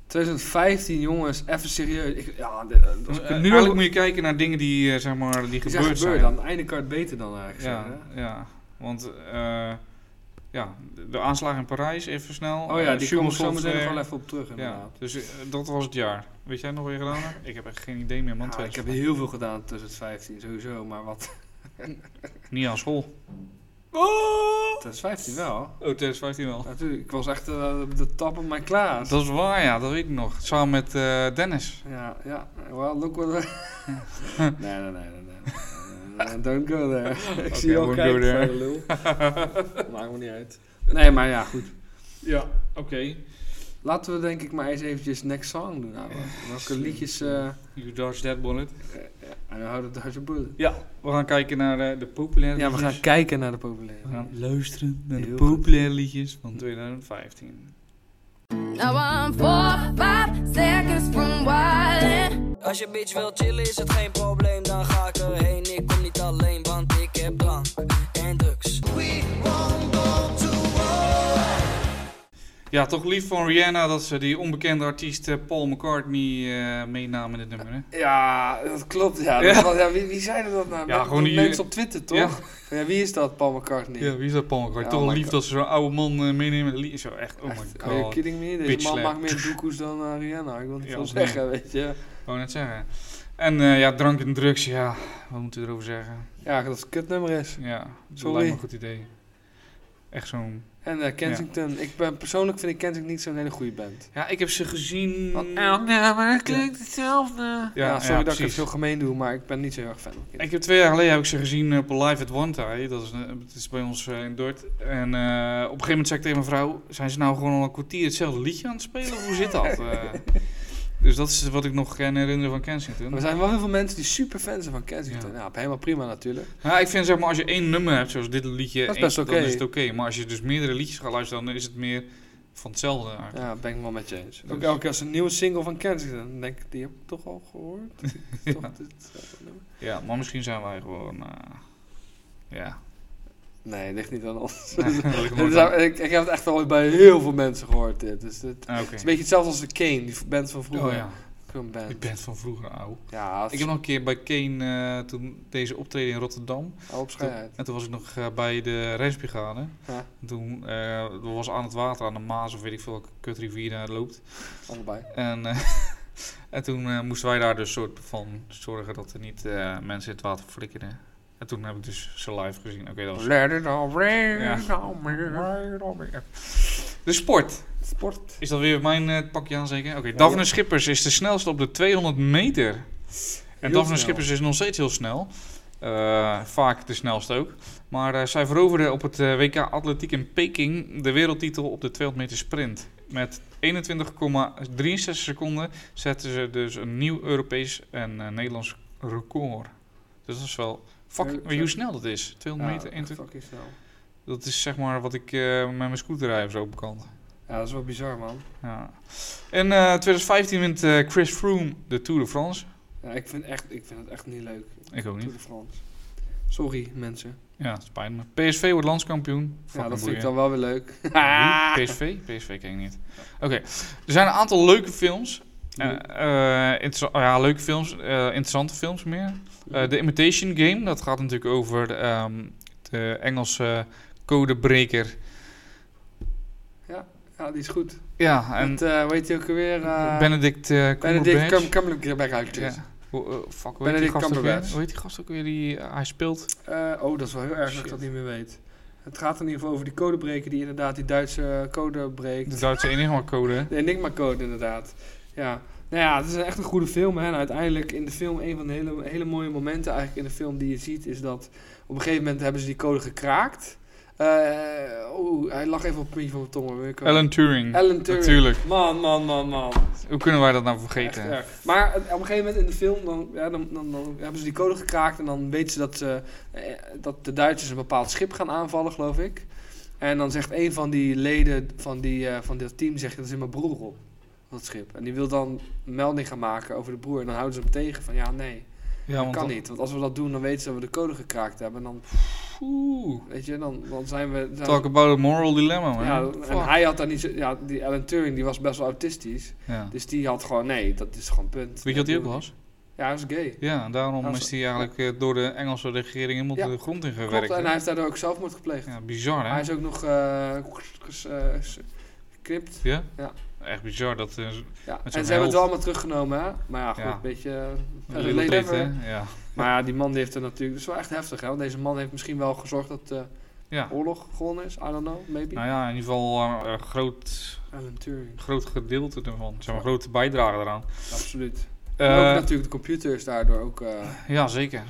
[SPEAKER 1] 2015, jongens, even serieus. Ik, ja, dit- als ik
[SPEAKER 2] Eh,
[SPEAKER 1] er nu
[SPEAKER 2] eigenlijk
[SPEAKER 1] al-
[SPEAKER 2] moet je kijken naar dingen die, eh, zeg maar, die
[SPEAKER 1] die
[SPEAKER 2] gebeurd
[SPEAKER 1] zijn
[SPEAKER 2] zijn.
[SPEAKER 1] gebeurd, aan het einde kan het beter dan eigenlijk.
[SPEAKER 2] Ja,
[SPEAKER 1] zeggen, hè?
[SPEAKER 2] ja. Want eh, ja, de- de aanslagen in Parijs, even snel.
[SPEAKER 1] Oh ja,
[SPEAKER 2] Eh,
[SPEAKER 1] die
[SPEAKER 2] Schumann
[SPEAKER 1] komen we zo meteen nog
[SPEAKER 2] software.
[SPEAKER 1] wel even op terug
[SPEAKER 2] Ja,
[SPEAKER 1] inderdaad.
[SPEAKER 2] dus eh, dat was het jaar. Weet jij nog wat je gedaan hebt? Ik heb echt geen idee meer, man.
[SPEAKER 1] Ja, Nou, ik heb heel veel gedaan tussen het 15 sowieso, maar wat...
[SPEAKER 2] Niet aan school.
[SPEAKER 1] Het is 15 wel.
[SPEAKER 2] Oh, 2015 wel.
[SPEAKER 1] Natuurlijk, ik was echt eh, op de top van mijn klaas.
[SPEAKER 2] Dat is waar, ja, dat weet ik nog. Samen met eh, Dennis.
[SPEAKER 1] Ja, ja. Well, look what... nee, nee, nee, nee. nee. Eh, don't go there. ik zie je al
[SPEAKER 2] won't go
[SPEAKER 1] kijken,
[SPEAKER 2] there.
[SPEAKER 1] vuile lul. Maakt me niet uit. Nee, maar ja, goed.
[SPEAKER 2] Ja, oké.
[SPEAKER 1] Laten we denk ik maar eens eventjes next song doen. ouwe. Welke liedjes... eh,
[SPEAKER 2] You dodged that bullet.
[SPEAKER 1] En dan houdt het uit bullet.
[SPEAKER 2] Ja, we gaan kijken naar eh, de populaire
[SPEAKER 1] Ja, we
[SPEAKER 2] liedjes.
[SPEAKER 1] gaan kijken naar de populaire.
[SPEAKER 2] We gaan luisteren naar de
[SPEAKER 1] Heel goed.
[SPEAKER 2] populaire liedjes van 2015.
[SPEAKER 5] Now I'm four, five seconds from wildin'.
[SPEAKER 6] Als je bitch wil chillen is het geen probleem, dan ga ik erheen. Ik kom niet alleen, want ik heb drank en drugs.
[SPEAKER 2] Ja, toch lief van Rihanna dat ze die onbekende artiest eh, Paul McCartney eh, meenam in het nummer. Hè?
[SPEAKER 1] Ja, dat klopt. Ja, Dat
[SPEAKER 2] Ja.
[SPEAKER 1] was- ja, wie, wie zeiden dat nou?
[SPEAKER 2] Ja,
[SPEAKER 1] Met-
[SPEAKER 2] gewoon
[SPEAKER 1] die
[SPEAKER 2] die-
[SPEAKER 1] mensen op Twitter, toch?
[SPEAKER 2] Ja.
[SPEAKER 1] Van, Ja, wie is dat, Paul McCartney?
[SPEAKER 2] Ja, wie is dat Paul McCartney?
[SPEAKER 1] Ja,
[SPEAKER 2] toch
[SPEAKER 1] oh my
[SPEAKER 2] lief
[SPEAKER 1] God.
[SPEAKER 2] dat ze zo'n oude man eh, meenemen. in een lied. Zo echt, oh my
[SPEAKER 1] Echt, Are you
[SPEAKER 2] god.
[SPEAKER 1] kidding me? Deze
[SPEAKER 2] Bitch
[SPEAKER 1] man
[SPEAKER 2] slap.
[SPEAKER 1] maakt meer doekoes dan eh, Rihanna. Ik wil niet
[SPEAKER 2] Ja,
[SPEAKER 1] veel
[SPEAKER 2] of niet.
[SPEAKER 1] zeggen, weet je.
[SPEAKER 2] Wou net zeggen. En eh, ja, drank en drugs, ja, wat moeten we erover zeggen?
[SPEAKER 1] Ja, dat is een kutnummer is.
[SPEAKER 2] Ja, dat
[SPEAKER 1] Sorry.
[SPEAKER 2] lijkt me een goed idee. Echt zo'n...
[SPEAKER 1] En eh, Kensington. Ik ben, persoonlijk vind ik Kensington niet zo'n hele goede band.
[SPEAKER 2] Ja, ik heb ze gezien...
[SPEAKER 1] nou? maar het klinkt hetzelfde. Ja,
[SPEAKER 2] ja,
[SPEAKER 1] sorry dat ik het
[SPEAKER 2] precies.
[SPEAKER 1] heel gemeen doe, maar ik ben niet zo heel erg fan van Kensington.
[SPEAKER 2] Ik heb twee jaar geleden heb ik ze gezien op Live at One Tie. Dat is, eh, het is bij ons eh, in Dordt. En eh, op een gegeven moment zei ik tegen mijn vrouw... Zijn ze nou gewoon al een kwartier hetzelfde liedje aan het spelen? Of Hoe zit dat? Eh, dus dat is wat ik nog kan herinneren van
[SPEAKER 1] Maar
[SPEAKER 2] Kensington.
[SPEAKER 1] Er zijn wel heel veel mensen die super fan zijn van Kensington. Ja, helemaal prima natuurlijk.
[SPEAKER 2] Ja, Nou, ik vind zeg maar als je één nummer hebt, zoals dit liedje...
[SPEAKER 1] Dat is
[SPEAKER 2] één,
[SPEAKER 1] best oké.
[SPEAKER 2] Dan is het oké. Maar als je dus meerdere liedjes gaat luisteren... Dan is het meer van hetzelfde eigenlijk.
[SPEAKER 1] Ja, ben ik wel met je eens. Ook
[SPEAKER 2] Dus-
[SPEAKER 1] elke keer als een nieuwe single van Kensington, dan denk ik, die heb ik toch al gehoord? Toch dit, eh, nummer?
[SPEAKER 2] Ja, maar misschien zijn wij gewoon... eh, ja.
[SPEAKER 1] nee, het ligt niet aan ons.
[SPEAKER 2] Gelukkig
[SPEAKER 1] Het
[SPEAKER 2] nooit
[SPEAKER 1] is- ik, ik heb het echt al bij heel veel mensen gehoord. Dit. Dus dit- het
[SPEAKER 2] aan- Ah,
[SPEAKER 1] is
[SPEAKER 2] Oké.
[SPEAKER 1] een beetje hetzelfde als de Kane, die band van vroeger.
[SPEAKER 2] Oh ja,
[SPEAKER 1] Zo'n band.
[SPEAKER 2] ik ben van vroeger oud.
[SPEAKER 1] Ja, als
[SPEAKER 2] Ik heb nog een keer bij Kane, eh, toen deze optreden in Rotterdam...
[SPEAKER 1] op schijnheid.
[SPEAKER 2] En toen was ik nog eh, bij de Rijnsbrigade.
[SPEAKER 1] Ja.
[SPEAKER 2] En Toen eh, dat was aan het water, aan de Maas of weet ik veel welke kutrivier daar loopt.
[SPEAKER 1] Allebei.
[SPEAKER 2] En, eh, en toen eh, moesten wij daar dus soort van zorgen dat er niet eh, mensen in het water flikkerden. En toen heb ik dus ze live gezien. Oké, dat was...
[SPEAKER 1] Let it all rain
[SPEAKER 2] Ja.
[SPEAKER 1] on me.
[SPEAKER 2] De sport.
[SPEAKER 1] Sport.
[SPEAKER 2] Is dat weer mijn eh, pakje aan zeker? Oké, Daphne Schippers is de snelste op de 200 meter. En Daphne
[SPEAKER 1] snel.
[SPEAKER 2] Schippers is nog steeds heel snel. Eh, vaak de snelste ook. Maar eh, zij veroverde op het eh, WK Atletiek in Peking de wereldtitel op de 200 meter sprint. Met 21,63 seconden zetten ze dus een nieuw Europees en eh, Nederlands record. Dus dat is wel... Fuck,
[SPEAKER 1] Heel
[SPEAKER 2] maar hoe snel dat is. 200 meter,
[SPEAKER 1] Ja,
[SPEAKER 2] 21.
[SPEAKER 1] fucking snel.
[SPEAKER 2] Dat is zeg maar wat ik eh, met mijn scooter rij of zo bekend.
[SPEAKER 1] Ja, dat is wel bizar, man.
[SPEAKER 2] Ja. En eh, 2015 wint eh, Chris Froome de Tour de France.
[SPEAKER 1] Ja, ik, vind echt, ik vind het echt niet leuk.
[SPEAKER 2] Ik ook
[SPEAKER 1] Tour de France. Sorry, mensen.
[SPEAKER 2] Ja, het spijt me. PSV wordt landskampioen.
[SPEAKER 1] ja,
[SPEAKER 2] Fucking
[SPEAKER 1] dat vind
[SPEAKER 2] boeien.
[SPEAKER 1] ik dan wel weer leuk.
[SPEAKER 2] Wie? PSV? PSV ken ik niet. Oké, er zijn een aantal leuke films. Eh, eh, interessa- oh ja, leuke films, eh, interessante films meer. Eh The Imitation Game, dat gaat natuurlijk over ehm, de Engelse codebreker.
[SPEAKER 1] Ja, die is goed.
[SPEAKER 2] Ja, en
[SPEAKER 1] En weet je ook alweer? eh
[SPEAKER 2] Benedict eh, Cumberbatch.
[SPEAKER 1] Benedict Cum- Cumberbatch.
[SPEAKER 2] Ja. Hoe, eh, fuck, hoe heet, die
[SPEAKER 1] Benedict
[SPEAKER 2] gast ook weer?
[SPEAKER 1] Cumberbatch.
[SPEAKER 2] hoe heet die gast ook weer? Die, eh, hij speelt.
[SPEAKER 1] Eh, oh, dat is wel heel erg dat ik
[SPEAKER 2] Shit.
[SPEAKER 1] dat niet meer weet. Het gaat in ieder geval over die codebreker die inderdaad die Duitse eh, code breekt.
[SPEAKER 2] De Duitse Enigma-code.
[SPEAKER 1] De Enigma Code, inderdaad. Ja. Nou ja, het is echt een goede film. Hè. En uiteindelijk in de film, een van de hele, hele mooie momenten eigenlijk in de film die je ziet, is dat op een gegeven moment hebben ze die code gekraakt. Eh oh, hij lag even op het puntje van mijn tong. hoor. Weet ik wel.
[SPEAKER 2] Alan Turing.
[SPEAKER 1] Alan Turing.
[SPEAKER 2] Natuurlijk.
[SPEAKER 1] Man, man, man, man.
[SPEAKER 2] Hoe kunnen wij dat nou
[SPEAKER 1] Echt
[SPEAKER 2] vergeten?
[SPEAKER 1] erg. Maar het- op een gegeven moment in de film, dan, ja, dan, dan, dan hebben ze die code gekraakt. En dan weten ze dat, ze, eh, dat de Duitsers een bepaald schip gaan aanvallen, geloof ik. En dan zegt een van die leden van, die, eh, van dat team, zegt, dat is mijn broer op, dat schip. En die wil dan een melding gaan maken over de broer. En dan houden ze hem tegen van, ja, nee,
[SPEAKER 2] Ja,
[SPEAKER 1] dat kan niet. Want als we dat doen, dan weten ze dat we de code gekraakt hebben. En dan,
[SPEAKER 2] Oeh.
[SPEAKER 1] weet je, dan, dan zijn we... zijn
[SPEAKER 2] Talk
[SPEAKER 1] we-
[SPEAKER 2] about a moral dilemma, man.
[SPEAKER 1] ja, en
[SPEAKER 2] Fuck.
[SPEAKER 1] hij had daar niet zo... Ja, die Alan Turing, die was best wel autistisch.
[SPEAKER 2] Ja.
[SPEAKER 1] Dus die had gewoon, nee, dat is gewoon punt.
[SPEAKER 2] Weet je wat hij ook was?
[SPEAKER 1] Ja, hij was gay.
[SPEAKER 2] Ja, en daarom
[SPEAKER 1] Als-
[SPEAKER 2] is hij eigenlijk eh, door de Engelse regering helemaal
[SPEAKER 1] Ja,
[SPEAKER 2] de grond ingewerkt.
[SPEAKER 1] Klopt, en
[SPEAKER 2] hè?
[SPEAKER 1] hij heeft daardoor ook zelfmoord gepleegd.
[SPEAKER 2] Ja, bizar hè?
[SPEAKER 1] Hij is ook nog eh, ges- eh, s- geknipt.
[SPEAKER 2] Ja?
[SPEAKER 1] Ja.
[SPEAKER 2] Echt bizar dat... eh,
[SPEAKER 1] Ja. En
[SPEAKER 2] Met
[SPEAKER 1] ze
[SPEAKER 2] zo'n
[SPEAKER 1] hebben het
[SPEAKER 2] held.
[SPEAKER 1] wel allemaal teruggenomen, hè? Maar ja, goed,
[SPEAKER 2] Ja.
[SPEAKER 1] een beetje... eh,
[SPEAKER 2] een
[SPEAKER 1] de
[SPEAKER 2] little
[SPEAKER 1] late
[SPEAKER 2] bit,
[SPEAKER 1] ever.
[SPEAKER 2] hè? Ja.
[SPEAKER 1] Maar ja, die man die heeft er natuurlijk... Dat is wel echt heftig, hè? Want deze man heeft misschien wel gezorgd dat eh, de
[SPEAKER 2] ja.
[SPEAKER 1] oorlog gewonnen is. I don't know, maybe.
[SPEAKER 2] Nou ja, in ieder geval eh, een groot,
[SPEAKER 1] Alan Turing,
[SPEAKER 2] groot gedeelte ervan. Zeg maar, grote bijdrage eraan.
[SPEAKER 1] absoluut.
[SPEAKER 2] Eh,
[SPEAKER 1] en ook natuurlijk de computers daardoor ook... eh,
[SPEAKER 2] ja, zeker.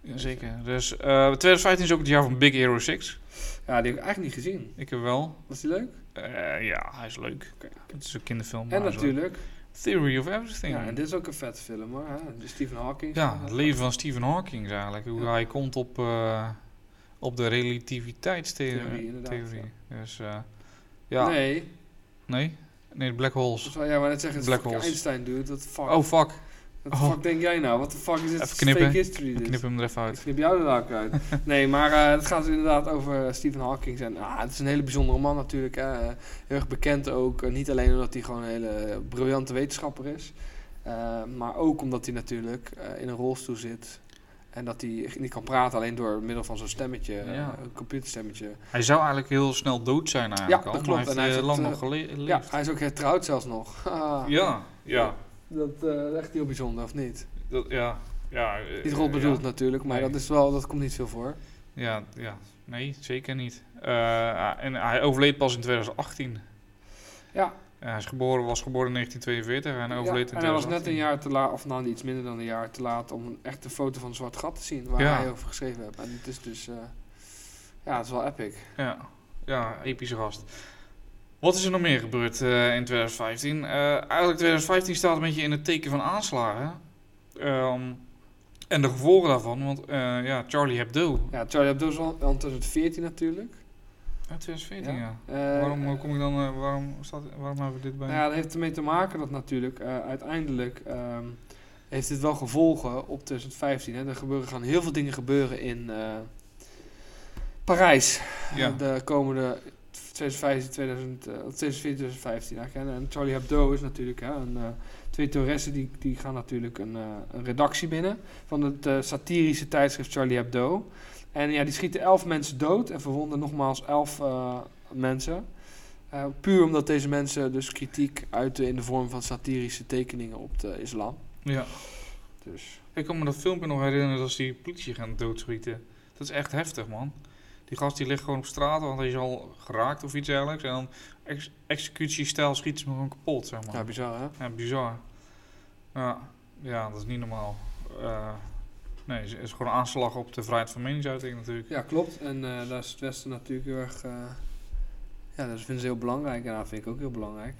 [SPEAKER 2] Ja, zeker. Dus eh, 2015 is ook het jaar van Big Hero 6.
[SPEAKER 1] ja, die heb ik eigenlijk niet gezien.
[SPEAKER 2] Ik heb wel.
[SPEAKER 1] Was die leuk?
[SPEAKER 2] Eh, ja, hij is leuk. Het is een kinderfilm. maar
[SPEAKER 1] en
[SPEAKER 2] hij is
[SPEAKER 1] natuurlijk...
[SPEAKER 2] leuk. Theory of Everything.
[SPEAKER 1] Ja, en dit is ook een vet film, hoor. Hè? De Stephen Hawking.
[SPEAKER 2] Ja, het leven van Stephen Hawking eigenlijk. Hoe
[SPEAKER 1] Ja.
[SPEAKER 2] hij komt op, eh, op de relativiteitstheorie.
[SPEAKER 1] Theorie, inderdaad,
[SPEAKER 2] theorie. Dus, eh, ja. Nee.
[SPEAKER 1] Nee,
[SPEAKER 2] nee? de black
[SPEAKER 1] dat
[SPEAKER 2] holes.
[SPEAKER 1] is wel- ja, maar net zeggen, het is
[SPEAKER 2] Black
[SPEAKER 1] fucking
[SPEAKER 2] holes.
[SPEAKER 1] Einstein, dude. Wat fuck.
[SPEAKER 2] Oh, fuck.
[SPEAKER 1] Wat de
[SPEAKER 2] Oh.
[SPEAKER 1] fuck denk jij nou? Wat de fuck is dit?
[SPEAKER 2] Even knippen.
[SPEAKER 1] Fake history
[SPEAKER 2] Ik
[SPEAKER 1] dit.
[SPEAKER 2] knip hem er even
[SPEAKER 1] Ik
[SPEAKER 2] uit.
[SPEAKER 1] knip jou er ook uit. nee, maar eh, het gaat dus inderdaad over Stephen Hawking. En ah, het is een hele bijzondere man natuurlijk. hè. Eh, Heel erg bekend ook. eh, Niet alleen omdat hij gewoon een hele briljante wetenschapper is. eh, maar ook omdat hij natuurlijk eh, in een rolstoel zit. En dat hij niet kan praten alleen door middel van zo'n stemmetje. eh,
[SPEAKER 2] Ja.
[SPEAKER 1] een computerstemmetje.
[SPEAKER 2] Hij zou eigenlijk heel snel dood zijn eigenlijk
[SPEAKER 1] Ja,
[SPEAKER 2] al.
[SPEAKER 1] dat
[SPEAKER 2] Maar
[SPEAKER 1] klopt.
[SPEAKER 2] hij
[SPEAKER 1] En hij
[SPEAKER 2] heeft
[SPEAKER 1] is
[SPEAKER 2] eh, lang
[SPEAKER 1] het,
[SPEAKER 2] nog gele- geleefd.
[SPEAKER 1] Ja, hij is ook hertrouwd zelfs nog. Haha.
[SPEAKER 2] ja, ja.
[SPEAKER 1] Dat eh, is echt heel bijzonder, of niet?
[SPEAKER 2] Dat, ja. Ja, eh,
[SPEAKER 1] Niet rot
[SPEAKER 2] eh,
[SPEAKER 1] bedoeld natuurlijk, maar
[SPEAKER 2] Nee.
[SPEAKER 1] dat, is wel, dat komt niet veel voor.
[SPEAKER 2] Ja, ja, ja. nee, zeker niet. Eh, en hij overleed pas in 2018.
[SPEAKER 1] Ja,
[SPEAKER 2] Eh, hij is geboren, was geboren in 1942 en
[SPEAKER 1] Ja,
[SPEAKER 2] overleed in 2018.
[SPEAKER 1] en hij was net een jaar te laat, of nou iets minder dan een jaar te laat, om een echte foto van een zwart gat te zien waar
[SPEAKER 2] Ja.
[SPEAKER 1] hij over geschreven heeft. En het is dus, eh, ja, het is wel epic.
[SPEAKER 2] Ja, ja epische gast. Wat is er nog meer gebeurd eh, in 2015? Eh, eigenlijk 2015 staat een beetje in het teken van aanslagen. Ehm, en de gevolgen daarvan, want eh, ja, Charlie Hebdo.
[SPEAKER 1] Ja, Charlie Hebdo is al al 2014 natuurlijk.
[SPEAKER 2] Uit 2014, ja.
[SPEAKER 1] Eh,
[SPEAKER 2] waarom eh, kom ik dan, eh, waarom, staat, waarom hebben we dit bij?
[SPEAKER 1] Nou ja, dat heeft ermee te maken dat natuurlijk eh, uiteindelijk ehm, heeft dit wel gevolgen op 2015. Hè. Er gebeuren, gaan heel veel dingen gebeuren in eh, Parijs.
[SPEAKER 2] Ja.
[SPEAKER 1] Eh, De komende 2015, 2000, eh, 2014, 2015 eigenlijk. hè. En Charlie Hebdo is natuurlijk hè, een, eh, twee toeressen die, die gaan natuurlijk een, eh, een redactie binnen van het eh, satirische tijdschrift Charlie Hebdo. En ja, die schieten elf mensen dood en verwonden nogmaals elf eh, mensen. Eh, puur omdat deze mensen dus kritiek uiten in de vorm van satirische tekeningen op de islam.
[SPEAKER 2] Ja.
[SPEAKER 1] Dus
[SPEAKER 2] Ik kan me dat filmpje nog herinneren als die politie gaan doodschieten. Dat is echt heftig, man. Die gast die ligt gewoon op straat, want hij is al geraakt of iets dergelijks. En dan ex executiestijl schiet ze hem gewoon kapot, zeg maar.
[SPEAKER 1] ja, bizar hè?
[SPEAKER 2] Ja, bizar. Ja, ja dat is niet normaal. Eh, nee, het is- is gewoon een aanslag op de vrijheid van meningsuiting natuurlijk.
[SPEAKER 1] Ja, klopt. En eh, daar is het Westen natuurlijk heel erg. eh, ja, dat vinden ze heel belangrijk. En dat vind ik ook heel belangrijk.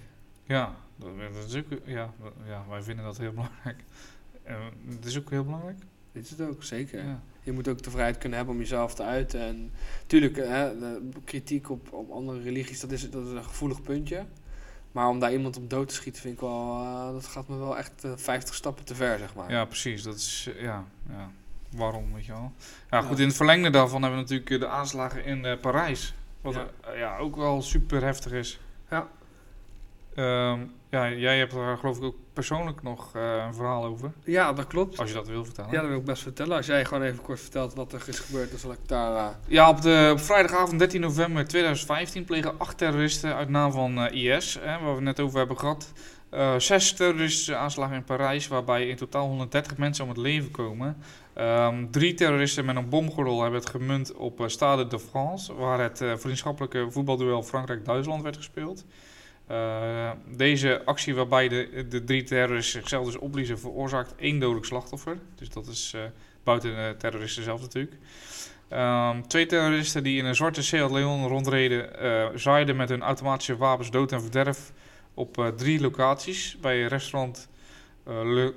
[SPEAKER 2] Ja, dat, dat is ook, ja, dat- ja, wij vinden dat heel belangrijk. En het is ook heel belangrijk.
[SPEAKER 1] Dit is het ook, zeker.
[SPEAKER 2] Ja.
[SPEAKER 1] Je moet ook de vrijheid kunnen hebben om jezelf te uiten. En natuurlijk, hè, de kritiek op, op andere religies, dat is, dat is een gevoelig puntje. Maar om daar iemand op dood te schieten, vind ik wel. eh, dat gaat me wel echt eh, 50 stappen te ver, zeg maar.
[SPEAKER 2] ja, precies. Dat is, eh, ja, ja. Waarom, weet je wel. Ja, goed, in het verlengde daarvan hebben we natuurlijk eh, de aanslagen in eh, Parijs. Wat
[SPEAKER 1] Ja.
[SPEAKER 2] eh, ja, ook wel super heftig is.
[SPEAKER 1] Ja.
[SPEAKER 2] Ehm, ja, jij hebt daar geloof ik ook persoonlijk nog eh, een verhaal over.
[SPEAKER 1] Ja, dat klopt.
[SPEAKER 2] Als je dat wil vertellen.
[SPEAKER 1] Ja, dat wil ik best vertellen. Als jij gewoon even kort vertelt wat er is gebeurd, dan zal ik daar... eh,
[SPEAKER 2] Ja, op, de, op vrijdagavond 13 november 2015 plegen acht terroristen uit naam van eh, IS, hè, waar we het net over hebben gehad, eh, zes terroristische aanslagen in Parijs, waarbij in totaal 130 mensen om het leven komen. Ehm, drie terroristen met een bomgordel hebben het gemunt op eh, Stade de France, waar het eh, vriendschappelijke voetbalduel Frankrijk-Duitsland werd gespeeld. Eh, deze actie waarbij de, de drie terroristen zichzelf dus opbliezen veroorzaakt één dodelijk slachtoffer. Dus dat is eh, buiten de terroristen zelf natuurlijk. Ehm, twee terroristen die in een zwarte Seat Leon rondreden, eh, zaaiden met hun automatische wapens dood en verderf op eh, drie locaties. Bij restaurant eh, Le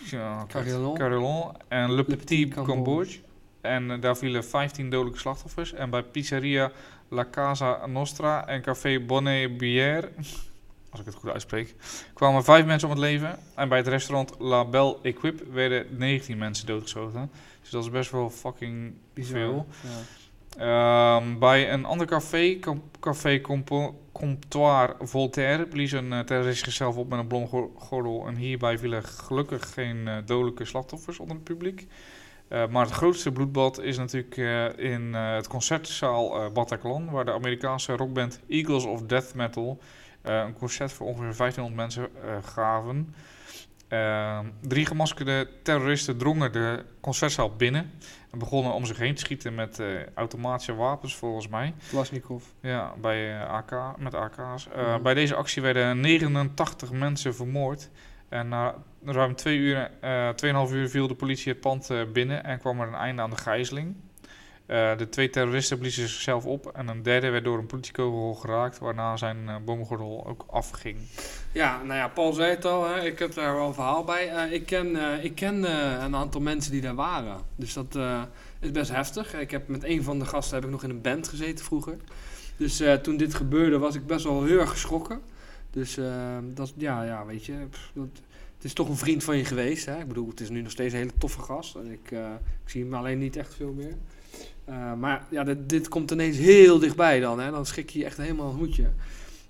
[SPEAKER 2] ja,
[SPEAKER 1] Carillon.
[SPEAKER 2] Carillon en Le Petit
[SPEAKER 1] Petit
[SPEAKER 2] Cambodge. En eh, daar vielen 15 dodelijke slachtoffers. En bij pizzeria La Casa Nostra en café Bonnet Bière, als ik het goed uitspreek, kwamen vijf mensen om het leven. En bij het restaurant La Belle Equipe werden 19 mensen doodgeschoten. Dus dat is best wel fucking
[SPEAKER 1] Bizar.
[SPEAKER 2] veel.
[SPEAKER 1] Ja.
[SPEAKER 2] Ehm, bij een ander café, com- Café Compo- Comptoir Voltaire, blies een eh, terrorist zichzelf op met een blomgordel. En hierbij vielen gelukkig geen eh, dodelijke slachtoffers onder het publiek. Eh, maar het grootste bloedbad is natuurlijk eh, in eh, het concertzaal eh, Bataclan, waar de Amerikaanse rockband Eagles of Death Metal eh, een concert voor ongeveer 1500 mensen eh, gaven. Ehm, drie gemaskerde terroristen drongen de concertzaal binnen en begonnen om zich heen te schieten met eh, automatische wapens, volgens mij.
[SPEAKER 1] Klasnikov.
[SPEAKER 2] Ja, bij eh, AK, met AK's. Eh,
[SPEAKER 1] Mhm.
[SPEAKER 2] Bij deze actie werden 89 mensen vermoord. En na ruim twee uur, eh 2,5 uur viel de politie het pand eh, binnen en kwam er een einde aan de gijzeling. Eh, de twee terroristen bliezen zichzelf op en een derde werd door een politiekogel geraakt, waarna zijn eh, boomgordel ook afging.
[SPEAKER 1] Ja, nou ja, Paul zei het al, hè, ik heb daar wel een verhaal bij. Eh, ik ken, eh, ik ken eh, een aantal mensen die daar waren. Dus dat eh, is best heftig. Ik heb met een van de gasten heb ik nog in een band gezeten vroeger. Dus eh, toen dit gebeurde was ik best wel heel erg geschrokken. Dus eh, dat, ja, ja, weet je, pff, dat, het is toch een vriend van je geweest. Hè? Ik bedoel, het is nu nog steeds een hele toffe gast. En ik, eh, ik zie hem alleen niet echt veel meer. Eh, maar ja, dit, dit komt ineens heel dichtbij dan. Hè? Dan schrik je je echt helemaal een hoedje.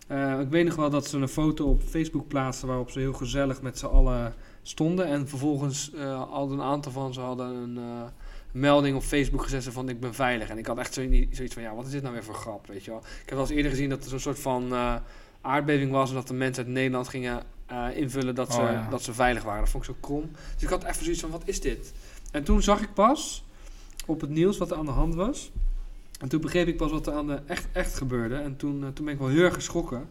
[SPEAKER 1] Eh, ik weet nog wel dat ze een foto op Facebook plaatsten waarop ze heel gezellig met z'n allen stonden. En vervolgens eh hadden een aantal van ze hadden een eh, melding op Facebook gezet van ik ben veilig. En ik had echt zoiets zoiets van ja, wat is dit nou weer voor grap, weet je wel. Ik heb wel eens eerder gezien dat er zo'n soort van eh, aardbeving was en dat de mensen uit Nederland gingen eh, invullen dat ze,
[SPEAKER 2] Oh, ja.
[SPEAKER 1] dat ze veilig waren. Dat vond ik zo krom. Dus ik had even zoiets van wat is dit? En toen zag ik pas op het nieuws wat er aan de hand was. En toen begreep ik pas wat er aan de echt, echt gebeurde. En toen, eh, toen ben ik wel heel erg geschrokken.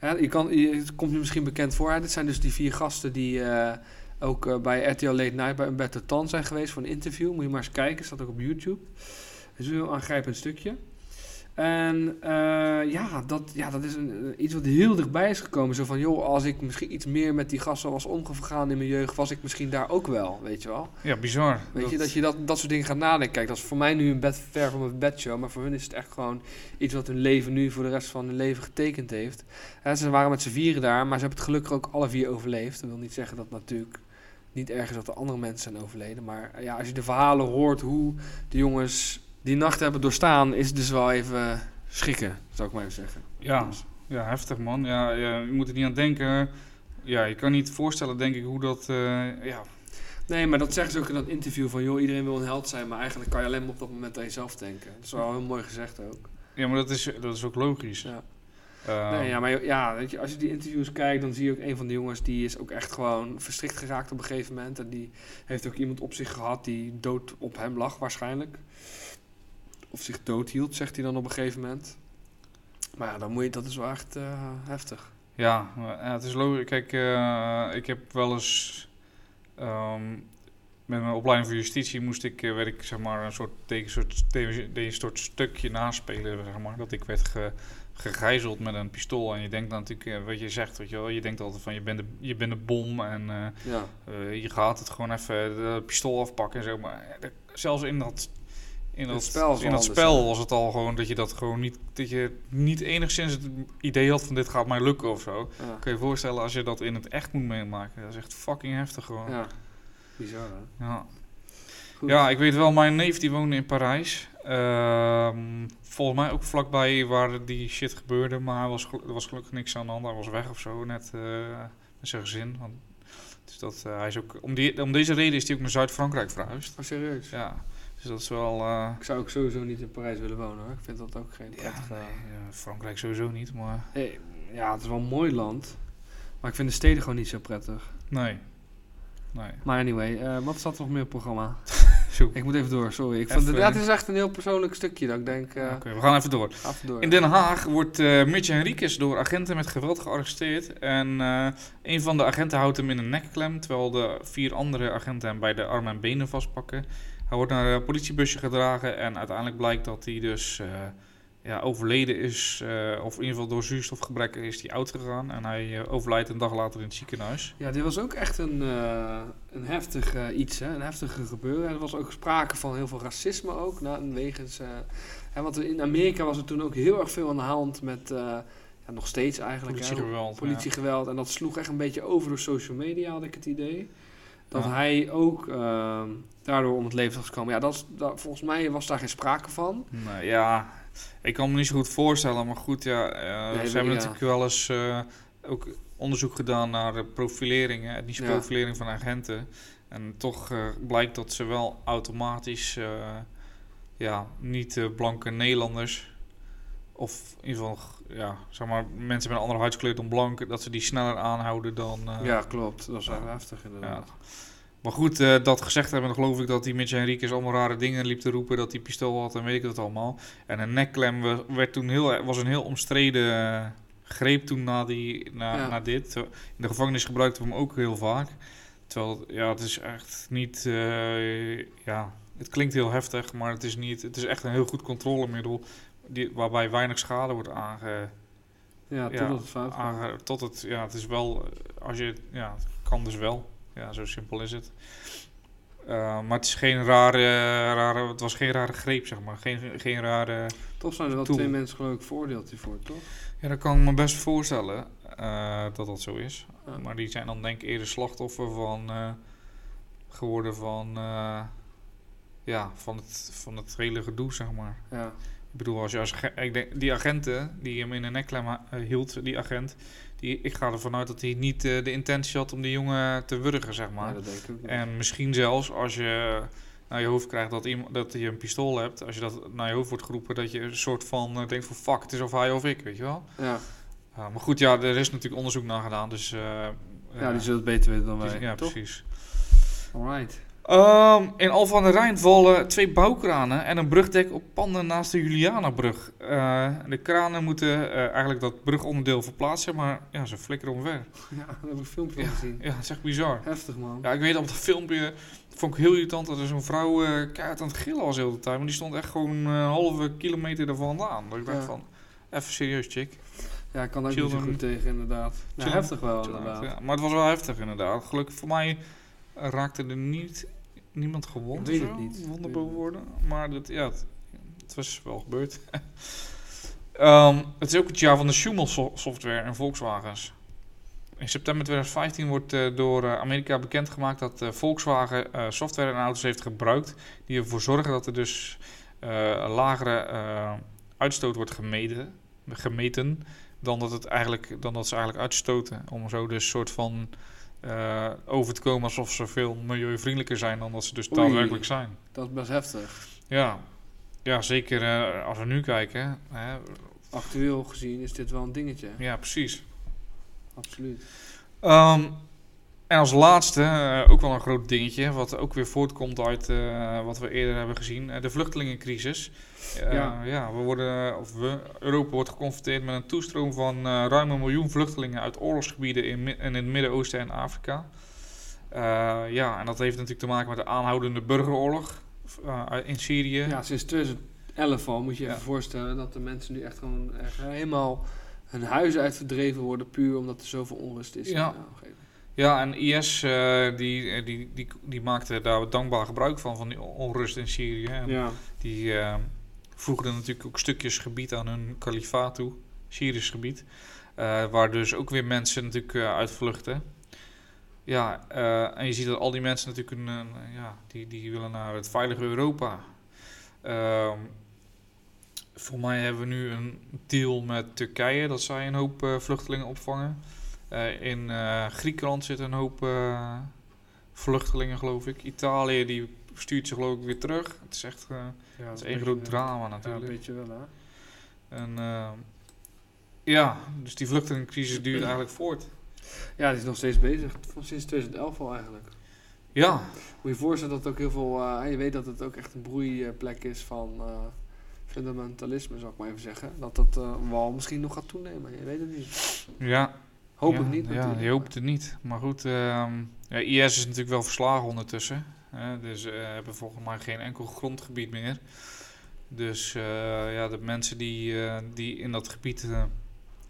[SPEAKER 1] Ja, je kan, je, het komt je misschien bekend voor. Hè? Dit zijn dus die vier gasten die eh, ook eh, bij RTL Late Night bij Umberto Tan zijn geweest voor een interview. Moet je maar eens kijken, staat ook op YouTube. Het is een heel aangrijpend stukje. En eh, ja, dat, ja, dat is een, eh, iets wat heel dichtbij is gekomen. Zo van, joh, als ik misschien iets meer met die gasten was omgegaan in mijn jeugd, was ik misschien daar ook wel, weet je wel.
[SPEAKER 2] Ja, bizar.
[SPEAKER 1] Weet je, dat je dat, dat soort dingen gaat nadenken. Kijk, dat is voor mij nu een bed ver van mijn bedshow. Maar voor hun is het echt gewoon iets wat hun leven nu voor de rest van hun leven getekend heeft. Hè, ze waren met z'n vieren daar, maar ze hebben het gelukkig ook alle vier overleefd. Dat wil niet zeggen dat natuurlijk niet erg is dat er andere mensen zijn overleden. Maar eh, ja, als je de verhalen hoort hoe de jongens die nacht hebben doorstaan, is het dus wel even schikken, zou ik maar even zeggen.
[SPEAKER 2] Ja, ja heftig man. Ja, ja, je moet er niet aan denken. Ja, je kan niet voorstellen, denk ik, hoe dat. eh, ja,
[SPEAKER 1] Nee, maar dat zeggen ze ook in dat interview van, joh, iedereen wil een held zijn, maar eigenlijk kan je alleen maar op dat moment aan jezelf denken. Dat is wel heel mooi gezegd ook.
[SPEAKER 2] ja, maar dat is, dat is ook logisch.
[SPEAKER 1] Ja.
[SPEAKER 2] Eh,
[SPEAKER 1] Nee, ja, maar ja, weet je, als je die interviews kijkt, dan zie je ook een van de jongens die is ook echt gewoon verstrikt geraakt op een gegeven moment. En die heeft ook iemand op zich gehad die dood op hem lag waarschijnlijk. Of zich dood hield, zegt hij dan op een gegeven moment. Maar ja, dan moet je, dat is wel echt eh, heftig.
[SPEAKER 2] Ja, maar, ja, het is logisch. Kijk, eh, ik heb wel eens ehm, met mijn opleiding voor justitie moest ik, eh, werd ik zeg maar een soort tegen soort, tegen- tegen soort stukje naspelen, zeg maar, dat ik werd ge- gegijzeld met een pistool. En je denkt dan natuurlijk, eh, wat je zegt, weet je wel, je denkt altijd van je bent de, je bent de bom en eh,
[SPEAKER 1] Ja,
[SPEAKER 2] eh, je gaat het gewoon even de pistool afpakken en zo. Maar eh, dat- zelfs in dat, in
[SPEAKER 1] Het
[SPEAKER 2] dat
[SPEAKER 1] spel is
[SPEAKER 2] in
[SPEAKER 1] al
[SPEAKER 2] dat
[SPEAKER 1] anders,
[SPEAKER 2] spel was het al gewoon dat je dat gewoon niet, dat je niet enigszins het idee had van dit gaat mij lukken of zo.
[SPEAKER 1] ja,
[SPEAKER 2] Kun je je voorstellen als je dat in het echt moet meemaken? Dat is echt fucking heftig gewoon. Ja.
[SPEAKER 1] ja. bizar hè? Goed.
[SPEAKER 2] Ja, ik weet wel, mijn neef die woonde in Parijs. Ehm, volgens mij ook vlakbij waar die shit gebeurde. Maar hij was gelu- er was gelukkig niks aan de hand. Hij was weg of zo, net eh, met zijn gezin. Want, dus dat, eh, hij is ook, om, die, om deze reden is hij ook naar Zuid-Frankrijk verhuisd.
[SPEAKER 1] Oh, serieus?
[SPEAKER 2] Ja, dus dat is wel... eh,
[SPEAKER 1] Ik zou ook sowieso niet in Parijs willen wonen hoor. Ik vind dat ook geen
[SPEAKER 2] ja,
[SPEAKER 1] prettig...
[SPEAKER 2] nee, eh, Frankrijk sowieso niet, maar...
[SPEAKER 1] Hey, ja, het is wel een mooi land. Maar ik vind de steden gewoon niet zo prettig.
[SPEAKER 2] Nee. Nee.
[SPEAKER 1] Maar anyway, eh, wat zat er nog meer op het programma?
[SPEAKER 2] Zo.
[SPEAKER 1] Ik moet even door, sorry. Ik vond het,
[SPEAKER 2] Even-
[SPEAKER 1] ja, het is echt een heel persoonlijk stukje dat ik denk, eh
[SPEAKER 2] Oké, we gaan even door.
[SPEAKER 1] af en door.
[SPEAKER 2] In Den Haag wordt eh Mitch Henriquez door agenten met geweld gearresteerd. En eh, een van de agenten houdt hem in een nekklem, terwijl de vier andere agenten hem bij de armen en benen vastpakken. Hij wordt naar een politiebusje gedragen en uiteindelijk blijkt dat hij dus eh, ja, overleden is. eh, of in ieder geval door zuurstofgebrek is hij oud gegaan. En hij eh, overlijdt een dag later in het ziekenhuis.
[SPEAKER 1] Ja, dit was ook echt een, eh, een heftig eh, iets, hè? een heftige gebeuren. En er was ook sprake van heel veel racisme ook, nou, wegens... eh, hè, want in Amerika was er toen ook heel erg veel aan de hand met... eh, ja, nog steeds eigenlijk. hè,
[SPEAKER 2] Politiegeweld. ja.
[SPEAKER 1] politiegeweld. En dat sloeg echt een beetje over door social media, had ik het idee. Dat
[SPEAKER 2] Ja.
[SPEAKER 1] hij ook ehm, daardoor om het leven was gekomen. Ja, dat is, dat, volgens mij was daar geen sprake van.
[SPEAKER 2] Nou ja, ik kan me niet zo goed voorstellen, maar goed, ja, eh,
[SPEAKER 1] Nee,
[SPEAKER 2] ze hebben
[SPEAKER 1] ja.
[SPEAKER 2] natuurlijk wel eens eh, ook onderzoek gedaan naar de profilering, hè, etnische
[SPEAKER 1] Ja.
[SPEAKER 2] profilering van agenten. En toch eh, blijkt dat ze wel automatisch, eh, ja, niet eh, blanke Nederlanders, of in ieder geval, ja, zeg maar, mensen met een andere huidskleur dan blank, dat ze die sneller aanhouden dan... eh,
[SPEAKER 1] ja, klopt. Dat is wel
[SPEAKER 2] ja.
[SPEAKER 1] heftig inderdaad.
[SPEAKER 2] Maar goed, eh, dat gezegd hebben, dan geloof ik dat die Mitch Henriquez allemaal rare dingen liep te roepen. Dat hij pistool had en weet ik dat allemaal. En een nekklem we- werd toen heel, was een heel omstreden eh, greep toen na, die, na,
[SPEAKER 1] Ja.
[SPEAKER 2] na dit. In de gevangenis gebruikten we hem ook heel vaak. Terwijl, ja, het is echt niet, eh, ja, het klinkt heel heftig, maar het is niet, het is echt een heel goed controlemiddel. Die, waarbij weinig schade wordt aange,
[SPEAKER 1] Ja,
[SPEAKER 2] Ja, Ah,
[SPEAKER 1] totdat het fout ging.
[SPEAKER 2] Aange- tot het, ja, het is wel, eh, als je, het- ja, het kan dus wel. Ja, zo simpel is het. Eh, maar het is geen rare, rare, het was geen rare greep, zeg maar. Geen, geen rare,
[SPEAKER 1] Toch zijn er wel
[SPEAKER 2] Toen.
[SPEAKER 1] twee mensen geloof ik veroordeeld hiervoor, toch?
[SPEAKER 2] ja, dat kan ik me best voorstellen eh, dat dat zo is.
[SPEAKER 1] Ja.
[SPEAKER 2] Maar die zijn dan denk ik eerder slachtoffer van, eh, geworden van, eh, ja, van het, van het hele gedoe, zeg maar.
[SPEAKER 1] Ja,
[SPEAKER 2] Ik bedoel, als je als ag- ik denk, die agenten die hem in een nekklem ha- eh, hield, die agent, die, ik ga ervan uit dat hij niet eh, de intentie had om die jongen te wurgen, zeg
[SPEAKER 1] maar
[SPEAKER 2] maar.
[SPEAKER 1] dat denk ik ook niet.
[SPEAKER 2] en misschien zelfs als je naar je hoofd krijgt dat, iemand, dat je een pistool hebt, als je dat naar je hoofd wordt geroepen, dat je een soort van eh, denkt van fuck, het is of hij of ik, weet je wel.
[SPEAKER 1] ja.
[SPEAKER 2] Ja, maar goed, ja, er is natuurlijk onderzoek naar gedaan, dus... eh,
[SPEAKER 1] ja,
[SPEAKER 2] eh,
[SPEAKER 1] die zullen het beter weten dan
[SPEAKER 2] die-
[SPEAKER 1] wij.
[SPEAKER 2] ja,
[SPEAKER 1] toch?
[SPEAKER 2] precies.
[SPEAKER 1] Alright.
[SPEAKER 2] Ehm, in Alphen aan de Rijn vallen twee bouwkranen en een brugdek op panden naast de Julianabrug. Eh, de kranen moeten eh, eigenlijk dat brugonderdeel verplaatsen, maar ja, ze flikkeren omver.
[SPEAKER 1] Ja, daar heb ik een filmpje van gezien.
[SPEAKER 2] Ja, het is echt bizar.
[SPEAKER 1] Heftig man.
[SPEAKER 2] Ja, ik weet op dat filmpje, vond ik heel irritant dat er zo'n vrouw eh keihard aan het gillen was heel de tijd. Maar die stond echt gewoon eh, een halve kilometer er vandaan. Dat ik dacht
[SPEAKER 1] Ja.
[SPEAKER 2] van, even serieus chick.
[SPEAKER 1] Ja, ik kan daar ook niet zo
[SPEAKER 2] Children.
[SPEAKER 1] goed tegen inderdaad. Ja,
[SPEAKER 2] Children.
[SPEAKER 1] heftig wel inderdaad.
[SPEAKER 2] Ja, maar het was wel heftig inderdaad. Gelukkig voor mij eh, raakte er niet, niemand gewond.
[SPEAKER 1] Ik
[SPEAKER 2] of
[SPEAKER 1] weet het
[SPEAKER 2] zo.
[SPEAKER 1] niet. Ik
[SPEAKER 2] Wonden
[SPEAKER 1] weet
[SPEAKER 2] boven
[SPEAKER 1] het
[SPEAKER 2] woorden. Maar dat, ja, het, het was wel gebeurd. Ehm, het is ook het jaar van de Schumel so- software en Volkswagens. In september 2015 wordt eh, door eh, Amerika bekendgemaakt dat eh, Volkswagen eh, software in auto's heeft gebruikt. Die ervoor zorgen dat er dus eh, een lagere eh, uitstoot wordt gemeten, gemeten dan, dat het eigenlijk, dan dat ze eigenlijk uitstoten. Om zo dus soort van eh, over te komen alsof ze veel milieuvriendelijker zijn dan dat ze dus
[SPEAKER 1] Oei.
[SPEAKER 2] daadwerkelijk zijn.
[SPEAKER 1] Dat is best heftig.
[SPEAKER 2] Ja, ja zeker eh, als we nu kijken. Hè.
[SPEAKER 1] Actueel gezien is dit wel een dingetje.
[SPEAKER 2] Ja, precies.
[SPEAKER 1] Absoluut.
[SPEAKER 2] Ehm, en als laatste, eh, ook wel een groot dingetje, wat ook weer voortkomt uit eh, wat we eerder hebben gezien, eh, de vluchtelingencrisis. Eh,
[SPEAKER 1] Ja.
[SPEAKER 2] ja. we worden, of we, Europa wordt geconfronteerd met een toestroom van eh, ruim een miljoen vluchtelingen uit oorlogsgebieden in, Mi- en in het Midden-Oosten en Afrika. Eh, ja, en dat heeft natuurlijk te maken met de aanhoudende burgeroorlog eh, in Syrië.
[SPEAKER 1] Ja, sinds 2011 al moet je je
[SPEAKER 2] Ja.
[SPEAKER 1] even voorstellen dat de mensen nu echt gewoon echt helemaal hun huizen uit verdreven worden. Puur omdat er zoveel onrust is. in
[SPEAKER 2] Ja.
[SPEAKER 1] de omgeving.
[SPEAKER 2] Ja, en IS eh, die, eh, die, die, die maakte daar dankbaar gebruik van, van die on- onrust in Syrië. En
[SPEAKER 1] ja.
[SPEAKER 2] Die eh, voegden natuurlijk ook stukjes gebied aan hun kalifaat toe, Syrisch gebied. eh, waar dus ook weer mensen natuurlijk eh, uit vluchten. Ja, eh, en je ziet dat al die mensen natuurlijk een, eh, ja, die, die willen naar het veilige Europa. Ehm, voor mij hebben we nu een deal met Turkije dat zij een hoop eh, vluchtelingen opvangen. Eh, in eh, Griekenland zitten een hoop eh, vluchtelingen, geloof ik. Italië die stuurt ze geloof ik weer terug. Het is echt eh,
[SPEAKER 1] Ja, eh,
[SPEAKER 2] het is één groot drama
[SPEAKER 1] Ja, een
[SPEAKER 2] natuurlijk.
[SPEAKER 1] beetje wel, hè?
[SPEAKER 2] en, eh, ja, dus die vluchtelingencrisis duurt eigenlijk voort.
[SPEAKER 1] Ja, die is nog steeds bezig. Van sinds 2011 al eigenlijk.
[SPEAKER 2] Ja,
[SPEAKER 1] Moet je voorstellen dat het ook heel veel... eh, je weet dat het ook echt een broeiplek is van eh, fundamentalisme, zou ik maar even zeggen. Dat dat eh, wel misschien nog gaat toenemen. Je weet het niet.
[SPEAKER 2] ja.
[SPEAKER 1] Hoop
[SPEAKER 2] ja,
[SPEAKER 1] het niet
[SPEAKER 2] Ja,
[SPEAKER 1] natuurlijk.
[SPEAKER 2] je hoopt het niet. Maar goed, ehm, ja, IS is natuurlijk wel verslagen ondertussen. Hè? Dus eh, hebben volgens mij geen enkel grondgebied meer. Dus eh, ja, de mensen die, eh, die in dat gebied eh,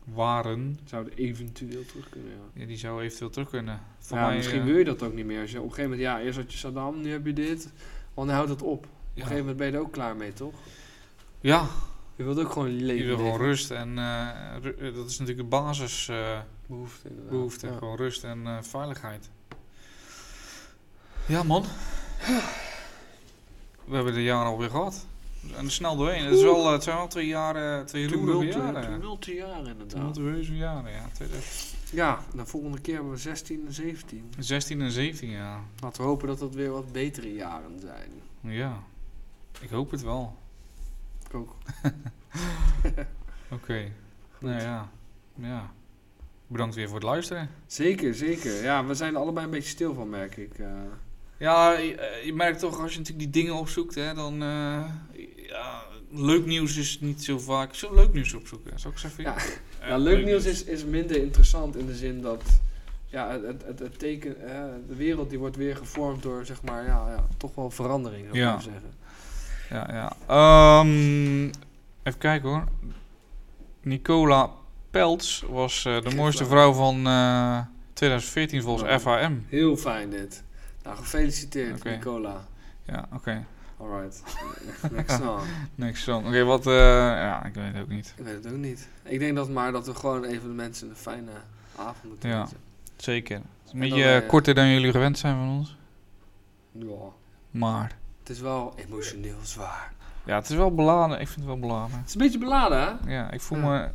[SPEAKER 2] waren,
[SPEAKER 1] Zouden eventueel terug kunnen, ja.
[SPEAKER 2] ja, die zouden eventueel terug kunnen. Voor
[SPEAKER 1] Ja,
[SPEAKER 2] mij,
[SPEAKER 1] misschien
[SPEAKER 2] eh,
[SPEAKER 1] wil je dat ook niet meer. Als je op een gegeven moment, ja, eerst had je Saddam, nu heb je dit. Want dan houdt het op. Op een
[SPEAKER 2] ja.
[SPEAKER 1] gegeven moment ben je er ook klaar mee, toch?
[SPEAKER 2] ja,
[SPEAKER 1] Je wilt ook gewoon je
[SPEAKER 2] je
[SPEAKER 1] leven
[SPEAKER 2] wil gewoon
[SPEAKER 1] leven.
[SPEAKER 2] rust. En eh, ru- eh, dat is natuurlijk de eh, basisbehoefte.
[SPEAKER 1] Behoefte, inderdaad. Ja.
[SPEAKER 2] Gewoon rust en eh, veiligheid. Ja, man. We hebben de jaren alweer gehad. En er snel doorheen. Het, is wel, eh, het zijn wel twee jaren, twee roerige jaren.
[SPEAKER 1] Tumultueuze jaren, inderdaad.
[SPEAKER 2] Tumultueuze jaren, ja. 2016
[SPEAKER 1] Ja, de volgende keer hebben we 16 en 17.
[SPEAKER 2] 16 en 17, ja.
[SPEAKER 1] Laten we hopen dat dat weer wat betere jaren zijn.
[SPEAKER 2] Ja. Ik hoop het wel.
[SPEAKER 1] Ik ook.
[SPEAKER 2] Oké. Nou ja. Ja. Bedankt weer voor het luisteren.
[SPEAKER 1] Zeker, zeker. Ja, we zijn er allebei een beetje stil van, merk ik. eh.
[SPEAKER 2] Ja, je, eh, je merkt toch als je natuurlijk die dingen opzoekt, hè, dan... eh, ja, leuk nieuws is niet zo vaak... Zo leuk nieuws opzoeken, zou ik zeggen.
[SPEAKER 1] Ja.
[SPEAKER 2] Eh,
[SPEAKER 1] ja, Nou, leuk nieuws is, is minder interessant in de zin dat ja, het- het, het, het teken, eh, de wereld die wordt weer gevormd door zeg maar, ja, ja, toch wel verandering, zou ik
[SPEAKER 2] Ja.
[SPEAKER 1] maar zeggen.
[SPEAKER 2] Ja, ja. Ehm, even kijken hoor. Nicola Peltz was eh, de
[SPEAKER 1] Geen
[SPEAKER 2] mooiste
[SPEAKER 1] flauw.
[SPEAKER 2] vrouw van eh, 2014 volgens
[SPEAKER 1] Oh.
[SPEAKER 2] FHM.
[SPEAKER 1] Heel fijn dit. Nou, gefeliciteerd,
[SPEAKER 2] Oké.
[SPEAKER 1] Nicola.
[SPEAKER 2] Ja, oké.
[SPEAKER 1] Alright. Next song.
[SPEAKER 2] Niks zo. Oké, wat... eh, ja, ik weet het ook niet.
[SPEAKER 1] Ik weet het ook niet. Ik denk dat maar dat we gewoon even de mensen een fijne avond moeten
[SPEAKER 2] Ja.
[SPEAKER 1] wensen.
[SPEAKER 2] Zeker. Het is een
[SPEAKER 1] En
[SPEAKER 2] beetje
[SPEAKER 1] dan,
[SPEAKER 2] eh,
[SPEAKER 1] eh,
[SPEAKER 2] korter dan jullie gewend zijn van ons.
[SPEAKER 1] Ja.
[SPEAKER 2] Maar...
[SPEAKER 1] Het is wel emotioneel zwaar.
[SPEAKER 2] Ja, het is wel beladen. Ik vind het wel beladen.
[SPEAKER 1] Het is een beetje beladen, hè?
[SPEAKER 2] Ja, ik voel
[SPEAKER 1] Ja.
[SPEAKER 2] me...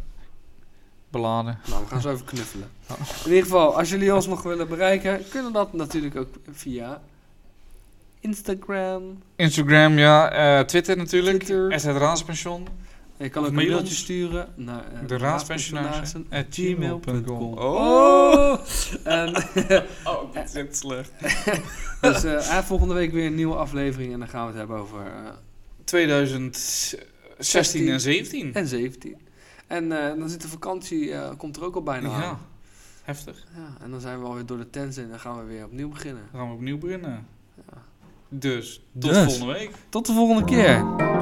[SPEAKER 2] Beladen.
[SPEAKER 1] Nou, we gaan zo even knuffelen. In ieder geval, als jullie ons nog willen bereiken, kunnen dat natuurlijk ook via Instagram.
[SPEAKER 2] Instagram, ja. eh, Twitter natuurlijk.
[SPEAKER 1] Twitter.
[SPEAKER 2] Twitter. Eh, SZ Raadspension.
[SPEAKER 1] En je kan ook
[SPEAKER 2] Of
[SPEAKER 1] een
[SPEAKER 2] mail
[SPEAKER 1] mailtje
[SPEAKER 2] ons.
[SPEAKER 1] sturen naar eh,
[SPEAKER 2] De raadspensionaris. At gmail.com.
[SPEAKER 1] Oh! En,
[SPEAKER 2] Oh, dit is echt slecht.
[SPEAKER 1] dus eh, eh, volgende week weer een nieuwe aflevering en dan gaan we het hebben over eh,
[SPEAKER 2] 2016 en 17.
[SPEAKER 1] en 17. En eh, dan zit de vakantie, eh, komt er ook al bijna
[SPEAKER 2] Ja,
[SPEAKER 1] aan.
[SPEAKER 2] heftig.
[SPEAKER 1] Ja, en dan zijn we alweer door de tent en dan gaan we weer opnieuw beginnen.
[SPEAKER 2] Dan gaan we opnieuw beginnen. Dus, tot
[SPEAKER 1] Dus.
[SPEAKER 2] volgende week.
[SPEAKER 1] Tot de volgende keer.